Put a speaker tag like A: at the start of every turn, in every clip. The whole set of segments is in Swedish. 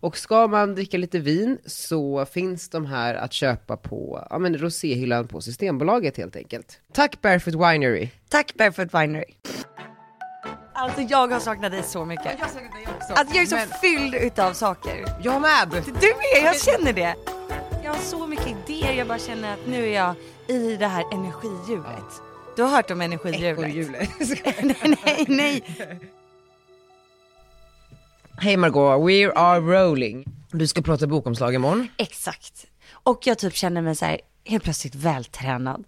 A: Och ska man dricka lite vin så finns de här att köpa på ja, men roséhyllan på Systembolaget helt enkelt. Tack Barefoot Winery!
B: Tack Barefoot Winery. Alltså jag har saknat dig så mycket. Jag Alltså jag är så fylld utav saker.
A: Jag med!
B: Du med, jag känner det. Jag har så mycket idéer, jag bara känner att nu är jag i det här energihjulet. Du har hört om energihjulet? nej, nej, nej.
A: Hej Margot, we are rolling. Du ska prata bokomslag imorgon.
B: Exakt. Och jag typ känner mig så här helt plötsligt vältränad.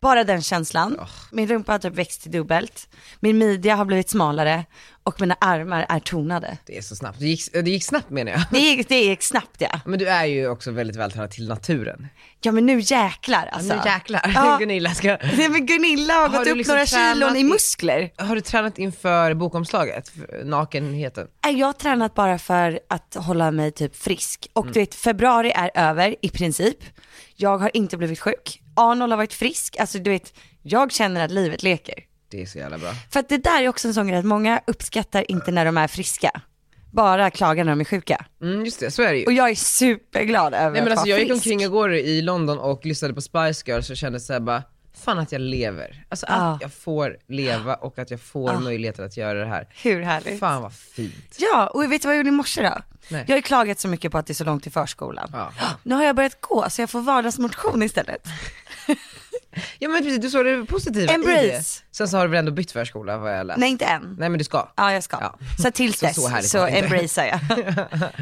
B: Bara den känslan. Min rumpa har typ växt till dubbelt. Min midja har blivit smalare och mina armar är tonade.
A: Det är så snabbt. Det gick, det gick snabbt menar jag.
B: Det gick, det gick snabbt ja.
A: Men du är ju också väldigt vältränad till naturen.
B: Ja men nu jäklar alltså.
A: Nu jäklar.
B: Ja.
A: Gunilla ska...
B: Nej, men Gunilla har,
A: Har
B: gått
A: du
B: upp
A: liksom
B: några
A: tränat
B: kilon
A: i-
B: i muskler.
A: Har du tränat inför bokomslaget? För Nakenheten?
B: Nej, Jag har tränat bara för att hålla mig typ frisk.
A: Mm.
B: Och du vet, februari är över i princip. Jag har inte blivit sjuk. Arnold har varit frisk. Alltså du vet, jag känner att livet leker.
A: Det är så jävla bra.
B: För att det där är också en sån grej att många uppskattar inte när de är friska. Bara klagar när de är sjuka.
A: Mm, just det, så är det ju.
B: Och jag är superglad över
A: Nej men
B: att
A: alltså
B: vara
A: jag gick
B: frisk.
A: omkring igår i London och lyssnade på Spice Girls och kände såhär bara, fan att jag lever. Alltså att
B: Ah.
A: jag får leva och att jag får möjligheten att göra det här.
B: Hur härligt.
A: Fan vad fint.
B: Ja, och vet du vad jag gjorde i morse då?
A: Nej.
B: Jag har ju klagat så mycket på att det är så långt till förskolan.
A: Ja.
B: Nu har jag börjat gå så jag får vardagsmotion istället.
A: Ja men precis, du såg det positiva i det.
B: Embrace.
A: Sen så har du väl ändå bytt förskola vad jag läst?
B: Nej, inte än.
A: Nej Ah. men du ska.
B: Ja, jag ska.
A: Ja.
B: Så tills
A: Så-
B: dess
A: så
B: så,
A: härligt var det inte.
B: embracear jag.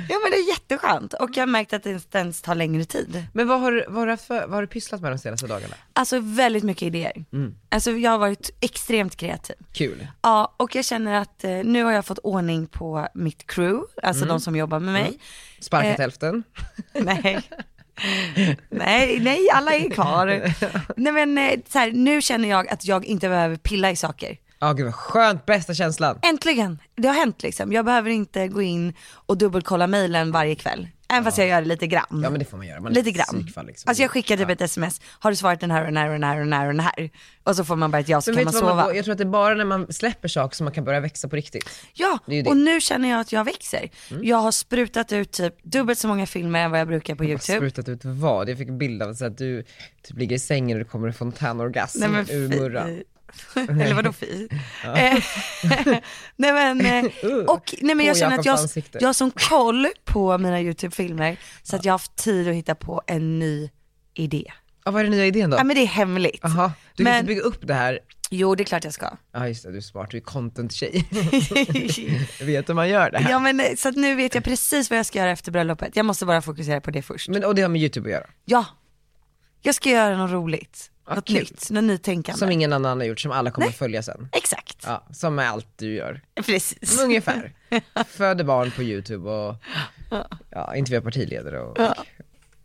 B: ja men det är jätteskönt och jag har märkt att det inte ens tar längre tid.
A: Men vad har, du- vad, har du haft för, vad har du pysslat med de senaste dagarna?
B: Alltså väldigt mycket idéer.
A: Mm.
B: Alltså jag har varit extremt kreativ.
A: Kul.
B: Ja, och jag känner att eh, nu har jag fått ordning på mitt crew, alltså
A: Mm.
B: de som jobbar med mig.
A: Sparkat
B: Eh.
A: hälften. Mm.
B: Nej. nej, nej, alla är kvar. Nej men eh, så här, nu känner jag att jag inte behöver pilla i saker.
A: Ja gud vad skönt, bästa känslan.
B: Äntligen, det har hänt liksom. Jag behöver inte gå in och dubbelkolla mailen varje kväll. Även fast jag gör det lite grann.
A: Ja men det får man göra, man är
B: Lite
A: ett
B: grann.
A: psykfall liksom.
B: Alltså jag skickar typ ett sms, har du svarat den här och den här och den här och den här och den här? Och så får man bara ett ja så
A: Men vet
B: kan man
A: du vad
B: sova.
A: man, jag tror att det är bara när man släpper saker som man kan börja växa på riktigt.
B: Ja,
A: Det Mm. är ju det.
B: och nu känner jag att jag växer. Jag har sprutat ut typ dubbelt så många filmer än vad jag brukar på YouTube.
A: sprutat ut vad? Jag fick en bild av så att du typ ligger i sängen och det kommer en fontänorgasm
B: Nej, men
A: ur
B: fi-
A: murran.
B: Eller vadå fi? Eh, nej men, eh, och, nej men jag
A: På
B: känner att
A: Jakobs
B: jag,
A: Uh. ansikte.
B: jag har sån koll på mina YouTube-filmer så att jag har haft tid att hitta på en ny idé.
A: Ja, vad är den nya idén då?
B: Ja men det är hemligt.
A: Jaha, du kan
B: men-
A: inte bygga upp det här.
B: Jo det är klart jag ska.
A: Ja just det, du är smart, du är content-tjej. Jag vet hur man gör det här.
B: ja men eh, så att nu vet jag precis vad jag ska göra efter bröllopet. Jag måste bara fokusera på det först.
A: Men, och det har med YouTube att göra,
B: Ja, jag ska göra något roligt.
A: Ja,
B: något
A: Ah, kul.
B: nytt, något nytänkande.
A: som ingen annan har gjort, som alla kommer att följa sen.
B: Exakt,
A: Ja, som med allt du gör.
B: precis.
A: Men Ungefär. Föder barn på YouTube och ja, intervjuar partiledare och, och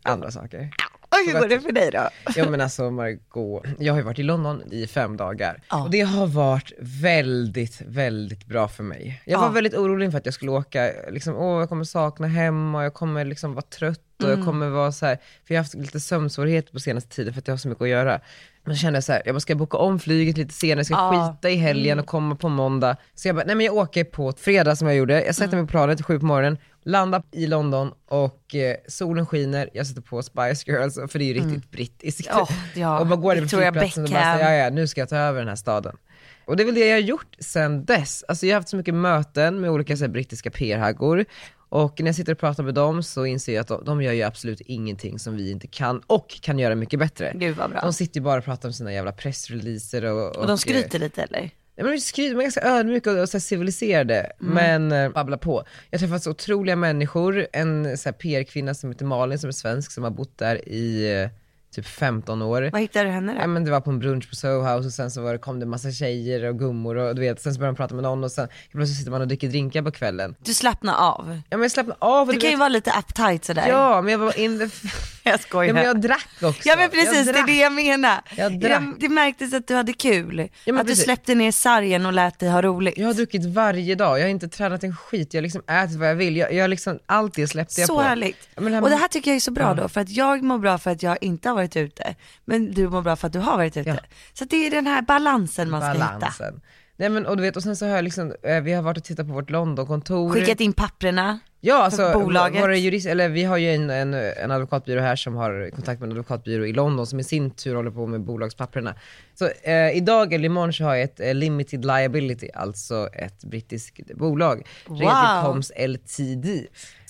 A: andra saker.
B: Och hur går det för dig då?
A: Ja men alltså Margot, jag har ju varit i London i fem dagar
B: Ja.
A: och det har varit väldigt, väldigt bra för mig. Jag var
B: Ja.
A: väldigt orolig inför att jag skulle åka, liksom, åh jag kommer sakna hem och jag kommer liksom vara trött och
B: Mm.
A: jag kommer vara så här, för jag har haft lite sömnsvårigheter på senaste tiden för att jag har så mycket att göra. Men så kände jag så här, jag bara, ska jag boka om flyget lite senare, ska jag
B: Ja.
A: skita i helgen
B: Mm.
A: och komma på måndag. Så jag bara, nej men jag åker på fredag som jag gjorde, jag sätter
B: Mm.
A: mig på planet sju på morgonen, landar i London och eh, solen skiner, jag sätter på Spice Girls, för det är ju riktigt brittiskt.
B: Mm. Ja, ja.
A: Och bara går över
B: Victoria
A: flygplatsen och bara
B: Beckham.
A: säger, ja, ja, nu ska jag ta över den här staden. Och det är väl det jag har gjort sen dess. Alltså jag har haft så mycket möten med olika så här, brittiska PR-haggor. Och när jag sitter och pratar med dem så inser jag att de, de gör ju absolut ingenting som vi inte kan och kan göra mycket bättre.
B: Gud vad bra.
A: De sitter ju bara och pratar om sina jävla pressreleaser och,
B: Och de skryter lite eller?
A: Ja, men de skryter, de är ganska ödmjuka och så här civiliserade,
B: Mm.
A: men eh, babblar på. Jag har träffat så otroliga människor, en så här PR-kvinna som heter Malin som är svensk som har bott där i eh, typ 15 år.
B: Vad hittade du henne
A: Ja,
B: då?
A: men det var på en brunch på Soho House och sen så var det, kom det massa tjejer och gummor och du vet, sen så började de prata med någon och sen plötsligt sitter man och dricker drinkar på kvällen.
B: Du slappnar av.
A: Ja men jag slappnade av. och
B: Du
A: du
B: kan ju
A: vet-
B: vara lite uptight sådär.
A: Ja men jag var in the...
B: Jag skojar.
A: ja men jag drack också.
B: Ja men precis,
A: jag
B: det är
A: drack.
B: det jag menar.
A: Jag drack.
B: det märktes att du hade kul.
A: men
B: att du
A: precis.
B: släppte ner sargen och lät dig ha roligt.
A: Jag har druckit varje dag, jag har inte tränat en skit, jag har liksom ätit vad jag vill, jag, jag har liksom, allt det släppte jag
B: så
A: på.
B: härligt.
A: Ja, men det här-
B: Och det här tycker jag är så bra då, för att jag mår bra för att jag inte har varit ute, men du mår bra för att du har varit ute.
A: Ja.
B: Så att det är den här balansen man ska hitta.
A: balansen. Nej men och du vet, och sen så har jag liksom, eh, vi har varit och tittat på vårt Londonkontor.
B: Skickat in papprena.
A: Ja, alltså,
B: bolaget.
A: Våra jurist, eller vi har ju en, en, en advokatbyrå här som har kontakt med en advokatbyrå i London som i sin tur håller på med bolagspapperna. Så eh, idag eller imorgon så har jag ett eh, limited liability, alltså ett brittiskt bolag. Redan
B: Wow.
A: Coms LTD.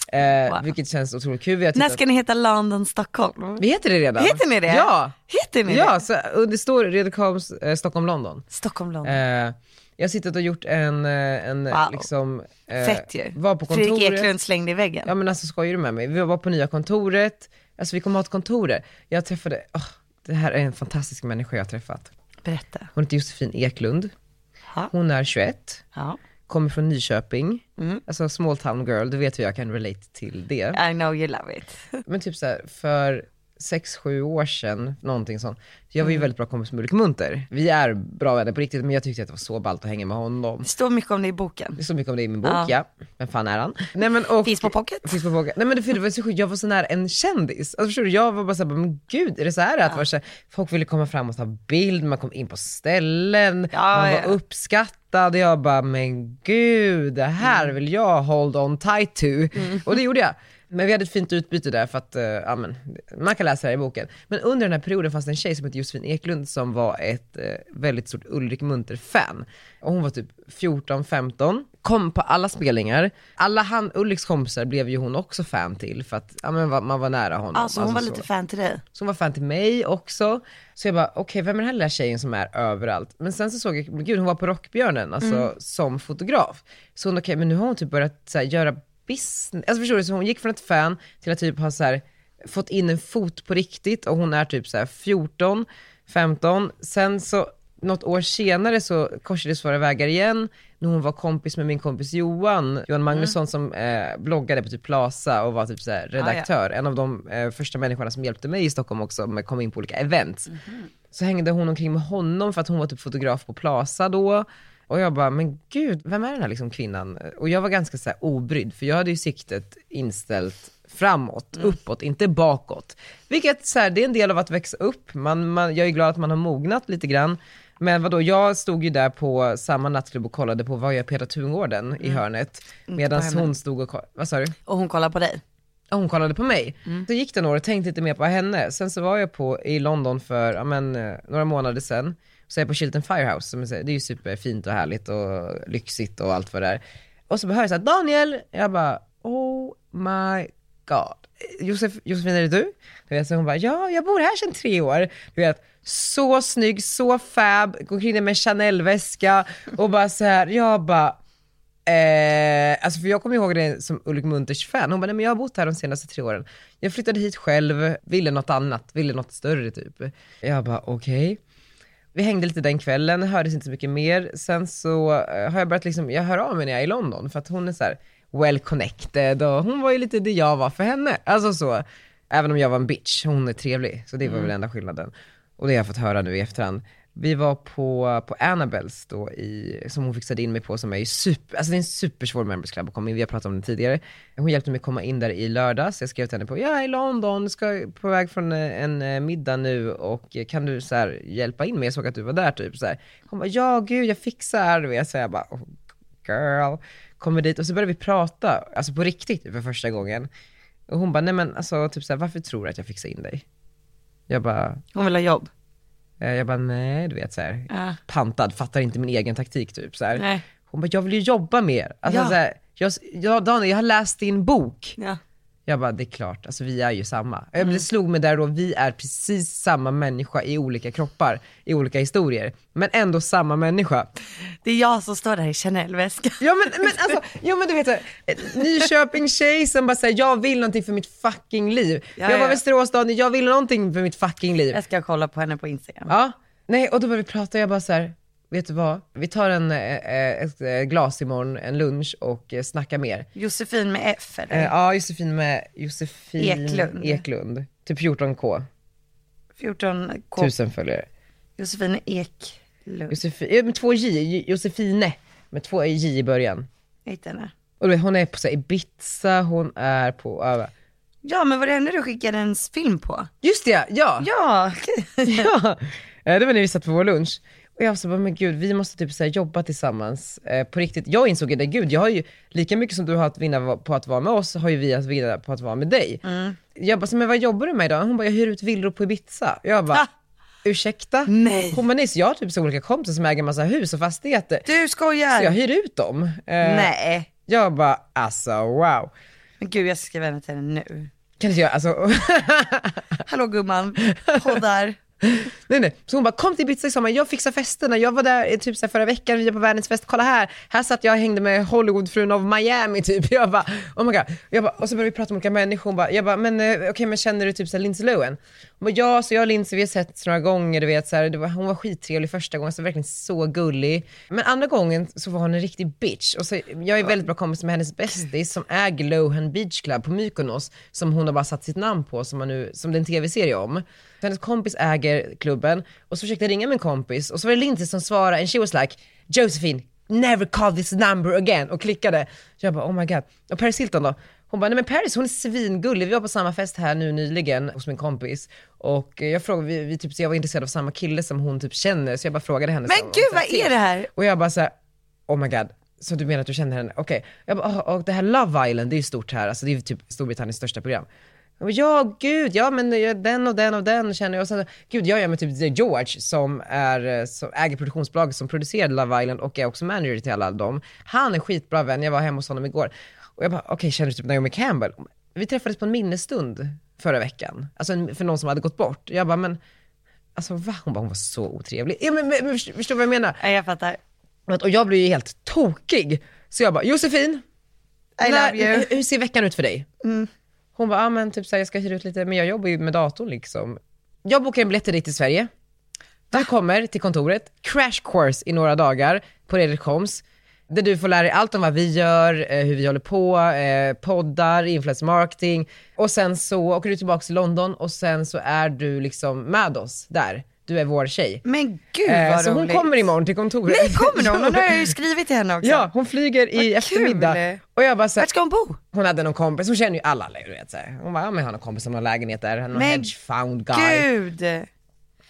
A: Eh,
B: Wow.
A: Vilket känns otroligt kul. Vi, har
B: När
A: tittat,
B: ska ni heta London Stockholm?
A: vi heter det redan.
B: Heter ni det?
A: Ja!
B: Heter ni
A: Ja,
B: det?
A: så, och det står Redocoms eh, Stockholm, London.
B: Stockholm London.
A: Eh, jag har suttit och gjort en, eh, en
B: Wow.
A: liksom, eh,
B: Fett ju.
A: var på kontoret.
B: Fredrik Eklund slängde i väggen.
A: Ja men alltså skojar du med mig? Vi var på nya kontoret, alltså vi kommer ha ett kontor där. Jag träffade, åh, det här är en fantastisk människa jag har träffat.
B: Berätta.
A: Hon heter Josefin Eklund,
B: Ja.
A: hon är 21,
B: Ja.
A: kommer från Nyköping,
B: Mm.
A: alltså small town girl, du vet hur jag kan relate till det.
B: I know you love it.
A: Men typ så här, för sex sju år sedan, någonting sånt. Jag var
B: Mm.
A: ju väldigt bra kompis med Ulrik Munter. Vi är bra vänner på riktigt, men jag tyckte att det var så ballt att hänga med honom.
B: Det står mycket om det i boken.
A: Det är så mycket om det i min bok,
B: Ja.
A: ja. Vem fan är han? Nej, men, och,
B: Finns på pocket.
A: Finns på pocket. Nej men det, för det var så sjukt, jag var så nära en kändis. Alltså förstår du, jag var bara såhär, men gud är det så här att vara så här, folk ville komma fram och ta bild, man kom in på ställen,
B: Ja,
A: man var
B: ja.
A: uppskattad. Jag bara, men gud det här
B: Mm.
A: vill jag hold on tight to. Och det gjorde jag. Men vi hade ett fint utbyte där för att, eh, ja men, man kan läsa det här i boken. Men under den här perioden fanns det en tjej som hette Josefin Eklund som var ett eh, väldigt stort Ulrik Munter-fan. Och hon var typ 14-15, kom på alla spelningar. Alla han, Ulriks kompisar blev ju hon också fan till för att, ja men va- man var nära honom.
B: Alltså hon var
A: så.
B: lite fan till dig.
A: Så hon var fan till mig också. Så jag bara, okej vem är den här lilla tjejen som är överallt? Men sen så såg jag, men gud hon var på Rockbjörnen, alltså som fotograf. Så hon, okej men nu har hon typ börjat så här, göra business, alltså förstår du? Så hon gick från ett fan till att typ ha så här, fått in en fot på riktigt och hon är typ så här 14, 15. Sen så något år senare så korsades våra vägar igen när hon var kompis med min kompis Johan, Johan Magnusson som eh, bloggade på typ Plaza och var typ så här redaktör. En av de eh, första människorna som hjälpte mig i Stockholm också med att komma in på olika events. Så hängde hon omkring med honom för att hon var typ fotograf på Plaza då. Och jag bara, men gud, vem är den här liksom kvinnan? Och jag var ganska så här obrydd, för jag hade ju siktet inställt framåt, uppåt, inte bakåt. Vilket så här, det är en del av att växa upp. Man, man, jag är glad att man har mognat lite grann. Men vadå, jag stod ju där på samma nattklubb och kollade på vad gör Petra Tungården i hörnet. Medan
B: henne.
A: hon stod och kollade, vad sa du?
B: Och hon kollar på dig.
A: Ja, Hon kollade på mig. Så gick det några år och tänkte lite mer på henne. Sen så var jag på, i London för ja, men, eh, några månader sen. Så är jag på Chilton Firehouse, som är, så- det är ju superfint och härligt och lyxigt och allt vad det är. Och så hör jag såhär, Daniel! Jag bara, oh my god. Josef, Josefin är det du? du vet, så hon bara, ja jag bor här sedan tre år. Du vet, så snygg, så fab, går omkring där med en Chanel-väska och bara så här, jag bara, Eh, alltså för jag kommer ihåg det som Ulrik Munters fan. Hon bara, nej men jag har bott här de senaste tre åren. Jag flyttade hit själv, ville något annat, ville något större typ. Jag bara, okej. Vi hängde lite den kvällen, hördes inte så mycket mer. Sen så eh, har jag börjat liksom, jag hör av mig när jag är i London för att hon är så här well connected och hon var ju lite det jag var för henne. Alltså så, även om jag var en bitch, hon är trevlig. Så det var väl enda skillnaden. Och det har jag fått höra nu i efterhand. Vi var på, på Annabels då i, som hon fixade in mig på som är ju super, alltså det är en supersvår members club att komma in, vi har pratat om det tidigare. Hon hjälpte mig komma in där i lördags, jag skrev till henne på, jag är i London, ska på väg från eh, en eh, middag nu och eh, kan du så här hjälpa in mig? Jag såg att du var där typ så här. Hon bara, ja gud jag fixar, du vet. Så jag bara, "Oh, girl, kommer dit och så började vi prata, alltså på riktigt för första gången. Och hon bara, nej men alltså typ så här, varför tror du att jag fixar in dig? Jag bara,
B: Hon vill ha jobb.
A: Eh, Jag bara, nej du vet så här,
B: Ja.
A: pantad, fattar inte min egen taktik typ så här.
B: Nej.
A: Hon bara, jag vill ju jobba mer. Alltså,
B: Ja.
A: så här, jag, jag, Daniel, jag har läst din bok.
B: Ja.
A: Jag bara, det är klart, alltså vi är ju samma. Mm. Det slog mig där då, vi är precis samma människa i olika kroppar, i olika historier. Men ändå samma människa.
B: Det är jag som står där i Chanel-väska.
A: Ja men, men alltså, ja men du vet, så här, Nyköping-tjej som bara säger jag vill någonting för mitt fucking liv.
B: Ja,
A: jag var
B: ja. Alltså,
A: Västerås Daniel, jag vill någonting för mitt fucking liv.
B: Jag ska kolla på henne på Instagram.
A: Ja, nej och då började vi prata och jag bara så här, vet du vad? Vi tar en, eh, eh, ett eh, glas imorgon, en lunch och eh, snackar mer.
B: Josefin med F eller?
A: Eh, Ja, Josefin med Josefin
B: Eklund.
A: Eklund. Typ 14k,
B: 14K.
A: 1000 följare.
B: Josefin Eklund.
A: Josefin, eh, med två J, J- Josefine med två J i början.
B: Jag hittade henne.
A: Och du vet, hon är på så här, Ibiza, hon är på, ja, va.
B: Ja men var det henne du skickade en film på?
A: just det ja!
B: Ja,
A: ja. Eh, Det var när vi satt på vår lunch. Och jag så bara, men gud, vi måste typ så här jobba tillsammans eh, på riktigt. Jag insåg ju det, gud, jag har ju, lika mycket som du har att vinna på att vara med oss, har ju vi att vinna på att vara med dig.
B: Mm.
A: Jag bara, så, men vad jobbar du med idag? Hon bara, jag hyr ut villor på Ibiza. Jag bara,
B: Ah.
A: ursäkta?
B: Nej.
A: Hon bara, nej, så jag har typ så olika kompisar som äger massa hus och fastigheter.
B: du skojar!
A: Så jag hyr ut dem. Eh,
B: Nej,
A: Jag bara, alltså wow.
B: men gud jag ska skriva henne till henne nu.
A: Kan inte jag, alltså.
B: Hallå gumman, poddar.
A: Nej, nej. Så hon bara, kom till Ibiza i sommar, jag fixar festerna. Jag var där eh, typ så här, förra veckan, vi var på världens fest, kolla här. Här satt jag och hängde med Hollywoodfrun av Miami typ. Jag bara, oh my god. Jag bara, och så började vi prata om olika människor. Hon bara, jag bara, men eh, okej men känner du typ så här Lindsay Lohan? Hon bara, ja, så jag och Lindsay vi har sett några gånger, du vet så här, det var, hon var skittrevlig första gången, så verkligen så gullig. Men andra gången så var hon en riktig bitch. Och så, jag är väldigt bra kompis med hennes bästis som äger Lohan Beach Club på Mykonos, som hon har bara satt sitt namn på, som, man nu, som det är en tv-serie om. Så hennes kompis äger klubben och så försökte jag ringa min kompis och så var det Lindsay som svarade and she was like Josephine, never call this number again och klickade. Jag bara oh my god. Och Paris Hilton då? Hon bara, nej men Paris hon är svingullig, vi var på samma fest här nu nyligen hos min kompis och eh, jag frågade, vi, vi typ, så jag var intresserad av samma kille som hon typ känner så jag bara frågade henne. så
B: Men
A: här,
B: gud
A: så
B: vad
A: här,
B: är det här?
A: och jag bara så här, oh my god, så du menar att du känner henne? Okej. Jag bara, oh, och det här Love Island, det är ju stort här, alltså det är ju typ Storbritanniens största program. Jag bara, ja gud, ja men eh, den och den och den känner jag. Och sen, gud jag gör med typ The George som, är, eh, som äger produktionsbolaget som producerade Love Island och är också manager till alla dem. Han är skitbra vän, jag var hemma hos honom igår. Och jag bara, okej känner du typ Naomi Campbell? Vi träffades på en minnesstund förra veckan, alltså en- för någon som hade gått bort. Jag bara, men alltså va? Hon bara, hon var så otrevlig. Ja, men, men, men, förstår du vad jag menar?
B: Nej jag fattar.
A: Vet, Och jag blev ju helt tokig. Så jag bara, Josefin, när,
B: I love you. Mm.
A: hur- hur ser veckan ut för dig? Hon bara, ah, men typ så här, jag ska hyra ut lite, men jag jobbar ju med datorn liksom. Jag bokar en biljett till dig till Sverige. Du kommer till kontoret, crash course i några dagar på Redcoms. Där du får lära dig allt om vad vi gör, eh, hur vi håller på, eh, poddar, influencer marketing. Och sen så åker du tillbaka till London och sen så är du liksom med oss där. Du är vår tjej.
B: Men gud
A: Eh,
B: vad
A: så hon
B: roligt.
A: kommer imorgon till kontoret.
B: Nej kommer hon? Hon har jag ju skrivit till henne också.
A: Ja, hon flyger i
B: kul.
A: eftermiddag. Och jag bara så här,
B: Vart ska hon bo?
A: hon hade någon kompis, hon känner ju alla, du vet så här. Hon bara, ja men jag har någon kompis som har lägenhet där, någon
B: Men
A: hedge fund guy. Eh.
B: Gud. Det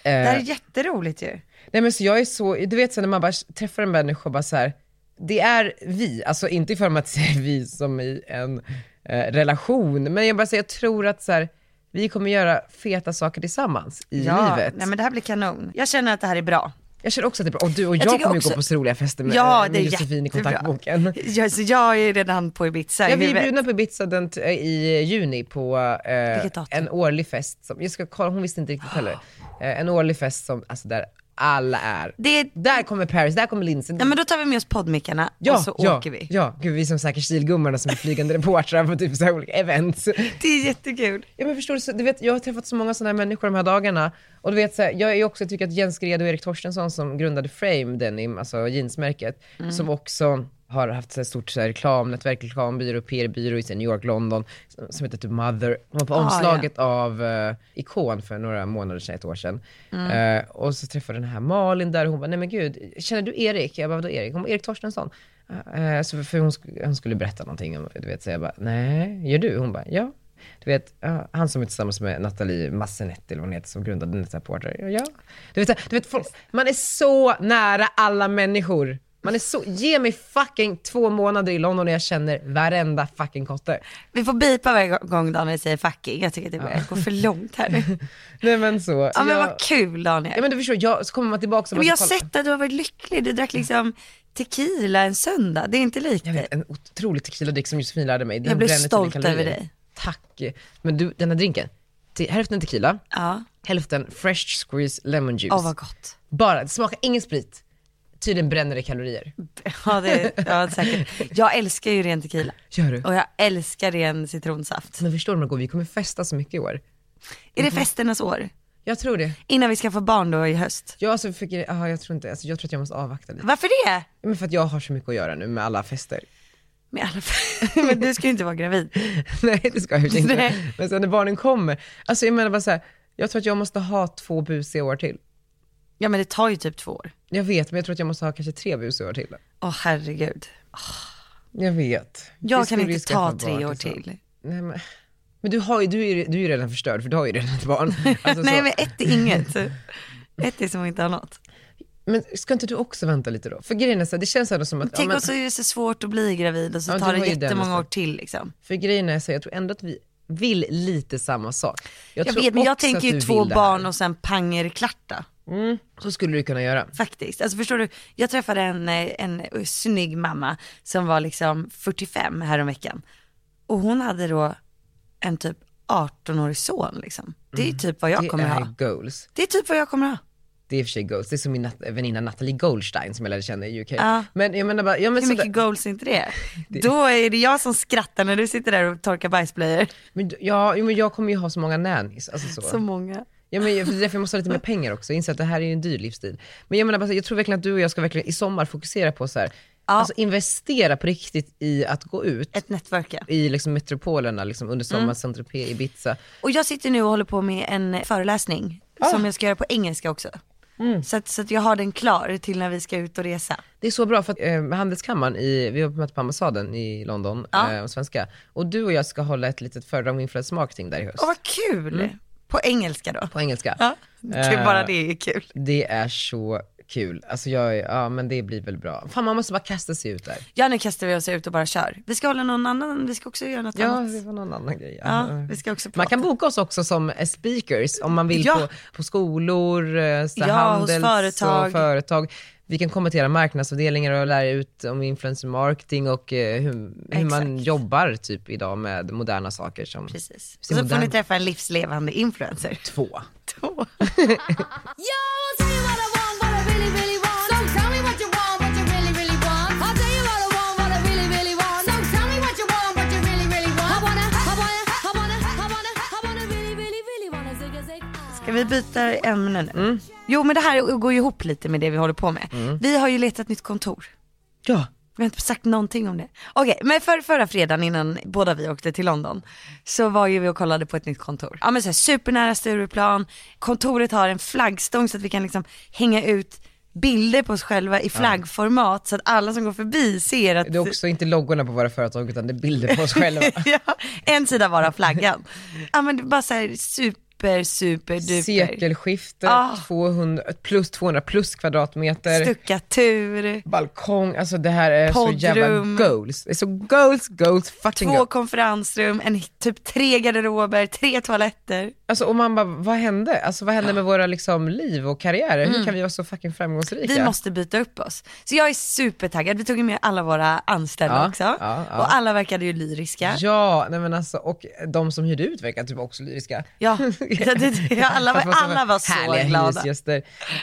B: här är jätteroligt ju.
A: Nej men så jag är så, du vet så när man bara träffar en människa och bara så här, det är vi, alltså inte i form att säga vi som i en eh, relation, men jag bara säger jag tror att så här, vi kommer göra feta saker tillsammans i livet.
B: Nej men det här blir kanon. Jag känner att det här är bra.
A: Jag känner också att det är bra, och du och jag,
B: tycker
A: kommer ju
B: också-
A: gå på så roliga fester med,
B: Ja,
A: eh,
B: det
A: med
B: är
A: Josefin i
B: jättebra.
A: kontaktboken.
B: Ja, så jag är redan på Ibiza i
A: Ja, vi är
B: huvudet.
A: bjudna på Ibiza den t- i juni på eh,
B: Vilket datum?
A: en årlig fest. Som, jag ska kolla, hon visste inte riktigt heller. Eh, en årlig fest som, alltså där alla är.
B: Det är...
A: Där kommer Paris, där kommer Lindsay.
B: Ja men då tar vi med oss poddmickarna och så
A: ja,
B: åker vi.
A: Ja, gud vi är som säkert stilgummorna som är flygande reportrar på typ så här olika events.
B: Det är jättekul.
A: Ja men förstår du, så, du vet, jag har träffat så många sådana här människor de här dagarna. Och du vet, så här, jag är ju också, jag tycker att Jens Gred och Erik Torstensson som grundade Frame Denim, alltså jeansmärket,
B: Mm.
A: som också har haft så här stort så här, reklamnätverk, reklambyrå, PR-byrå i så här New York, London, som- som heter typ Mother. De var på
B: Ah, ja.
A: omslaget av eh, Ikon för några månader sedan, ett år sedan.
B: Mm.
A: Eh, och så träffade den här Malin där och hon bara, nej men gud, känner du Erik? Jag bara, vadå Erik? Hon bara, Erik Torstensson. Eh, så för, för hon, sk- hon skulle berätta någonting, om, du vet, så jag bara, nej, gör du? Hon bara, ja. Du vet, ja, han som är tillsammans med Nathalie Massenetti, eller vad hon heter, som grundade Netta Porter. Ja, Ja. Du vet, så här, du vet folk, man är så nära alla människor. Man är så, ge mig fucking två månader i London och jag känner varenda fucking kotte.
B: Vi får bipa varje gång Daniel säger fucking. Jag tycker att det börjar gå för långt här nu.
A: Nej men så.
B: Ja men
A: jag,
B: vad kul Daniel.
A: ja, men du förstår, jag, så kommer man tillbaka och
B: Men
A: bara,
B: jag har
A: kolla-
B: sett att du har varit lycklig. Du drack liksom tequila en söndag. Det är inte likt
A: Jag
B: dig.
A: vet, en otrolig tequila som Josefin lärde mig. Det
B: Jag blir
A: bränner tydligen
B: stolt
A: kalorier.
B: över dig.
A: tack. Men du, den här drinken, till hälften tequila,
B: Ja.
A: hälften fresh squeezed lemon juice.
B: Åh vad gott.
A: Bara, det smakar ingen sprit. Tydligen bränner det kalorier.
B: Ja, det, ja säkert. Jag älskar ju ren tequila.
A: Gör du?
B: Och jag älskar ren citronsaft.
A: Men förstår du Margot, vi kommer festa så mycket i år.
B: Är
A: Mhm.
B: det festernas år?
A: Jag tror det.
B: Innan vi skaffar barn då i höst.
A: Jag, alltså, fick, aha, jag tror inte, alltså, jag tror att jag måste avvakta lite.
B: Varför det?
A: Men för att jag har så mycket att göra nu med alla fester.
B: Men, i alla fall, men du ska ju inte vara gravid.
A: Nej det ska jag ju inte.
B: Nej.
A: Men sen när barnen kommer, alltså jag menar bara så här, jag tror att jag måste ha två busiga år till.
B: Ja men det tar ju typ två år.
A: Jag vet, men jag tror att jag måste ha kanske tre busiga år till.
B: Åh herregud.
A: Jag vet. Vi
B: Jag kan
A: skulle ju
B: inte
A: skaffa
B: ta tre
A: barn
B: år
A: tillsammans.
B: till.
A: Nej, men men du, har ju, du, är, ju- du är ju redan förstörd, för du har ju redan ett barn. Alltså,
B: Nej
A: så,
B: men ett är inget. Ett är som att inte har något.
A: men ska inte du också vänta lite då? För grejen är så här, det känns ändå som att... ja,
B: Tänk
A: men-
B: också är det så svårt att bli gravid och så
A: Ja,
B: tar
A: du
B: det
A: har ju den
B: jättemånga år
A: aspekten.
B: till liksom.
A: För grejen är så, här, jag tror ändå att vi vill lite samma sak.
B: Jag
A: tror
B: vet men jag
A: också att
B: tänker
A: du
B: ju två
A: vill det här.
B: barn och sen pangerklarta.
A: Mm, så skulle du kunna göra.
B: Faktiskt. Alltså förstår du, jag träffade en, eh, en eh, snygg mamma som var liksom 45 häromveckan. Och hon hade då en typ 18-årig son liksom. Det är ju typ vad jag
A: Mm. Det
B: kommer
A: är
B: ha.
A: goals.
B: Det är typ vad jag kommer ha.
A: Det är i och för sig goals. Det är som min nat- väninna Natalie Goldstein som jag lärde känna i UK.
B: Ja.
A: Men jag menar bara, ja, men,
B: Hur
A: sådär,
B: mycket goals är inte det? Då är det jag som skrattar när du sitter där och torkar bajsblöjor.
A: men, ja, jo, men jag kommer ju ha så många nannies. Alltså så.
B: Så många.
A: Ja, men, jag- för det är därför jag måste ha lite mer pengar också. Jag inser att det här är ju en dyr livsstil. Men jag menar bara, så här, jag tror verkligen att du och jag ska verkligen i sommar fokusera på så här, alltså investera på riktigt i att gå ut
B: Ett Mm. nätverk ja.
A: i liksom metropolerna liksom, under sommaren, Saint-Tropez, Ibiza.
B: Och jag sitter nu och håller på med en föreläsning som jag ska göra på engelska också. Så, att, så att jag har den klar till när vi ska ut och resa.
A: Det är så bra för att eh, Handelskammaren, i, vi var på möte på ambassaden i London,
B: Ja.
A: eh, och svenska. Och du och jag ska hålla ett litet föredrag om influencer marketing där i höst.
B: Åh vad kul! Mm. På engelska då.
A: På engelska.
B: Ja, det är
A: Eh,
B: bara det är kul.
A: Det är så kul. Alltså jag, är- ja men det blir väl bra. Fan man måste bara kasta sig ut där.
B: Ja nu kastar vi oss ut och bara kör. Vi ska hålla någon annan, vi ska också göra något
A: Ja, det
B: annat.
A: var någon annan grej.
B: Ja, vi ska också prata.
A: Man kan boka oss också som eh, speakers om man vill
B: Ja.
A: på, på skolor, eh, så här
B: Ja, hos
A: handels
B: företag.
A: och företag. Vi kan komma till era marknadsavdelningar och lära ut om influencer marketing och eh, hur, hur man
B: Exakt.
A: jobbar typ idag med moderna saker som
B: Precis.
A: Så
B: Så får ni
A: modern.
B: träffa en livslevande influencer.
A: två.
B: Två.
C: Yo, I'll tell you what I want, what I really, really want. So tell me what you want, what you really, really want. I'll tell you what I want, what I really, really want. So tell me what you want, what you really, really want. I wanna, I wanna, I wanna, I wanna, I wanna really, really, really wanna zig a zig.
B: Ska vi byta ämne nu? Jo men det här går ju ihop lite med det vi håller på med. Vi har ju letat nytt kontor.
A: Ja.
B: Vi har inte sagt någonting om det. Okej, men för, förra fredagen innan båda vi åkte till London så var ju vi och kollade på ett nytt kontor. Ja men så här, supernära Stureplan, kontoret har en flaggstång så att vi kan liksom hänga ut bilder på oss själva i flaggformat så att alla som går förbi ser att
A: Det är också inte loggorna på våra företag utan det är bilder på oss själva.
B: ja, en sida var av flaggan. Ja men det var bara så här super, super duper.
A: Sekelskifte,
B: Ah.
A: 200, plus 200 plus kvadratmeter.
B: Stuckatur.
A: balkong, alltså det här är så
B: Poddrum.
A: jävla goals. Det är så goals, goals, fucking
B: två
A: goals.
B: konferensrum, en, typ tre garderober, tre toaletter.
A: Alltså, och man bara, vad hände? Alltså vad hände med våra liksom, liv och karriärer? Hur kan vi vara så fucking framgångsrika?
B: Mm. Vi måste byta upp oss. Så jag är supertaggad, vi tog ju med alla våra anställda
A: Ja,
B: också.
A: ja, ja.
B: Och alla verkade ju lyriska.
A: Ja, nej men alltså, och de som hyrde ut verkar typ också lyriska.
B: Ja, ja, det- ja, alla var-
A: Fast de
B: alla var så
A: härliga
B: glada.
A: hyresgäster.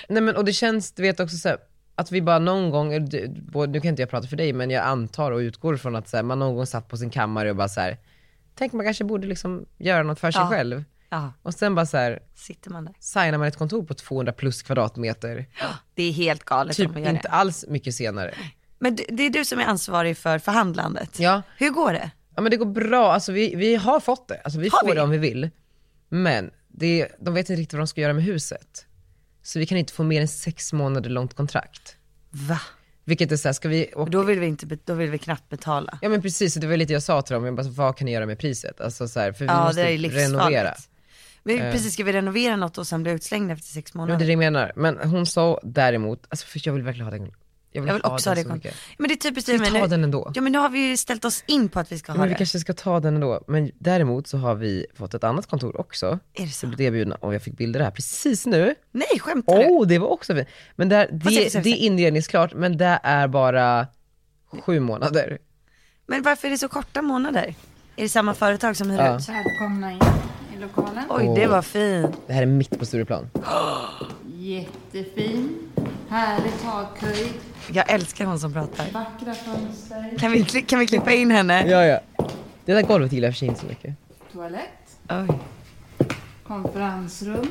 A: Nej men och det känns, du vet också så här, att vi bara någon gång, du- både- nu kan inte jag prata för dig men jag antar och utgår från att så här, man någon gång satt på sin kammare och bara så här, tänk man kanske borde liksom göra något för sig
B: Ja.
A: själv.
B: Ja,
A: Och sen bara så här,
B: sitter man där.
A: signar man ett kontor på 200 plus kvadratmeter,
B: Det är helt galet om
A: typ
B: man gör
A: inte
B: det.
A: alls mycket senare.
B: Men du, det är du som är ansvarig för förhandlandet.
A: Ja.
B: Hur går det?
A: Ja men det går bra, alltså vi, vi har fått det, alltså vi
B: Har
A: får
B: vi?
A: det om vi vill. Men det, de vet inte riktigt vad de ska göra med huset. Så vi kan inte få mer än sex månader långt kontrakt.
B: Va?
A: Vilket är såhär, ska vi åka...
B: Då vill vi, inte, be- då vill vi knappt betala.
A: Ja men precis, det var lite jag sa till dem, jag bara, så, vad kan ni göra med priset? Alltså så här, för vi
B: Ja,
A: måste
B: det är
A: renovera. Eh.
B: livsfarligt. Men precis, ska vi renovera något och sen bli utslängda efter sex
A: Men det är
B: månader?
A: det jag menar. Men hon sa däremot, alltså för jag vill verkligen ha den. Jag vill,
B: Jag vill också ha
A: den så
B: det. kon-
A: mycket.
B: Men det är typiskt
A: vi
B: men
A: ta
B: nu-
A: den ändå?
B: Ja men nu har vi ju ställt oss in på att vi ska ha
A: Men vi
B: det.
A: kanske ska ta den ändå. Men däremot så har vi fått ett annat kontor också.
B: Är det så?
A: Vi blev erbjudna, och jag fick bilder här precis nu.
B: Nej, skämtar du?
A: Åh, oh, det var också fint. Men där,
B: se,
A: det,
B: se, se.
A: det är inredningsklart, men det är bara sju månader.
B: Men varför är det så korta månader? Är det samma företag som hyr
A: Ja.
B: ut?
D: Välkomna in i lokalen.
B: Oj, det var fint.
A: Det här är mitt på Stureplan.
D: Jättefin. Härlig takhöjd.
B: Jag älskar hon som pratar.
D: Vackra fönster.
B: Kan vi, kli- kan vi klippa in henne?
A: Ja, ja. Det där golvet gillar jag för sig inte så mycket.
D: Toalett.
B: Oj,
D: Konferensrum.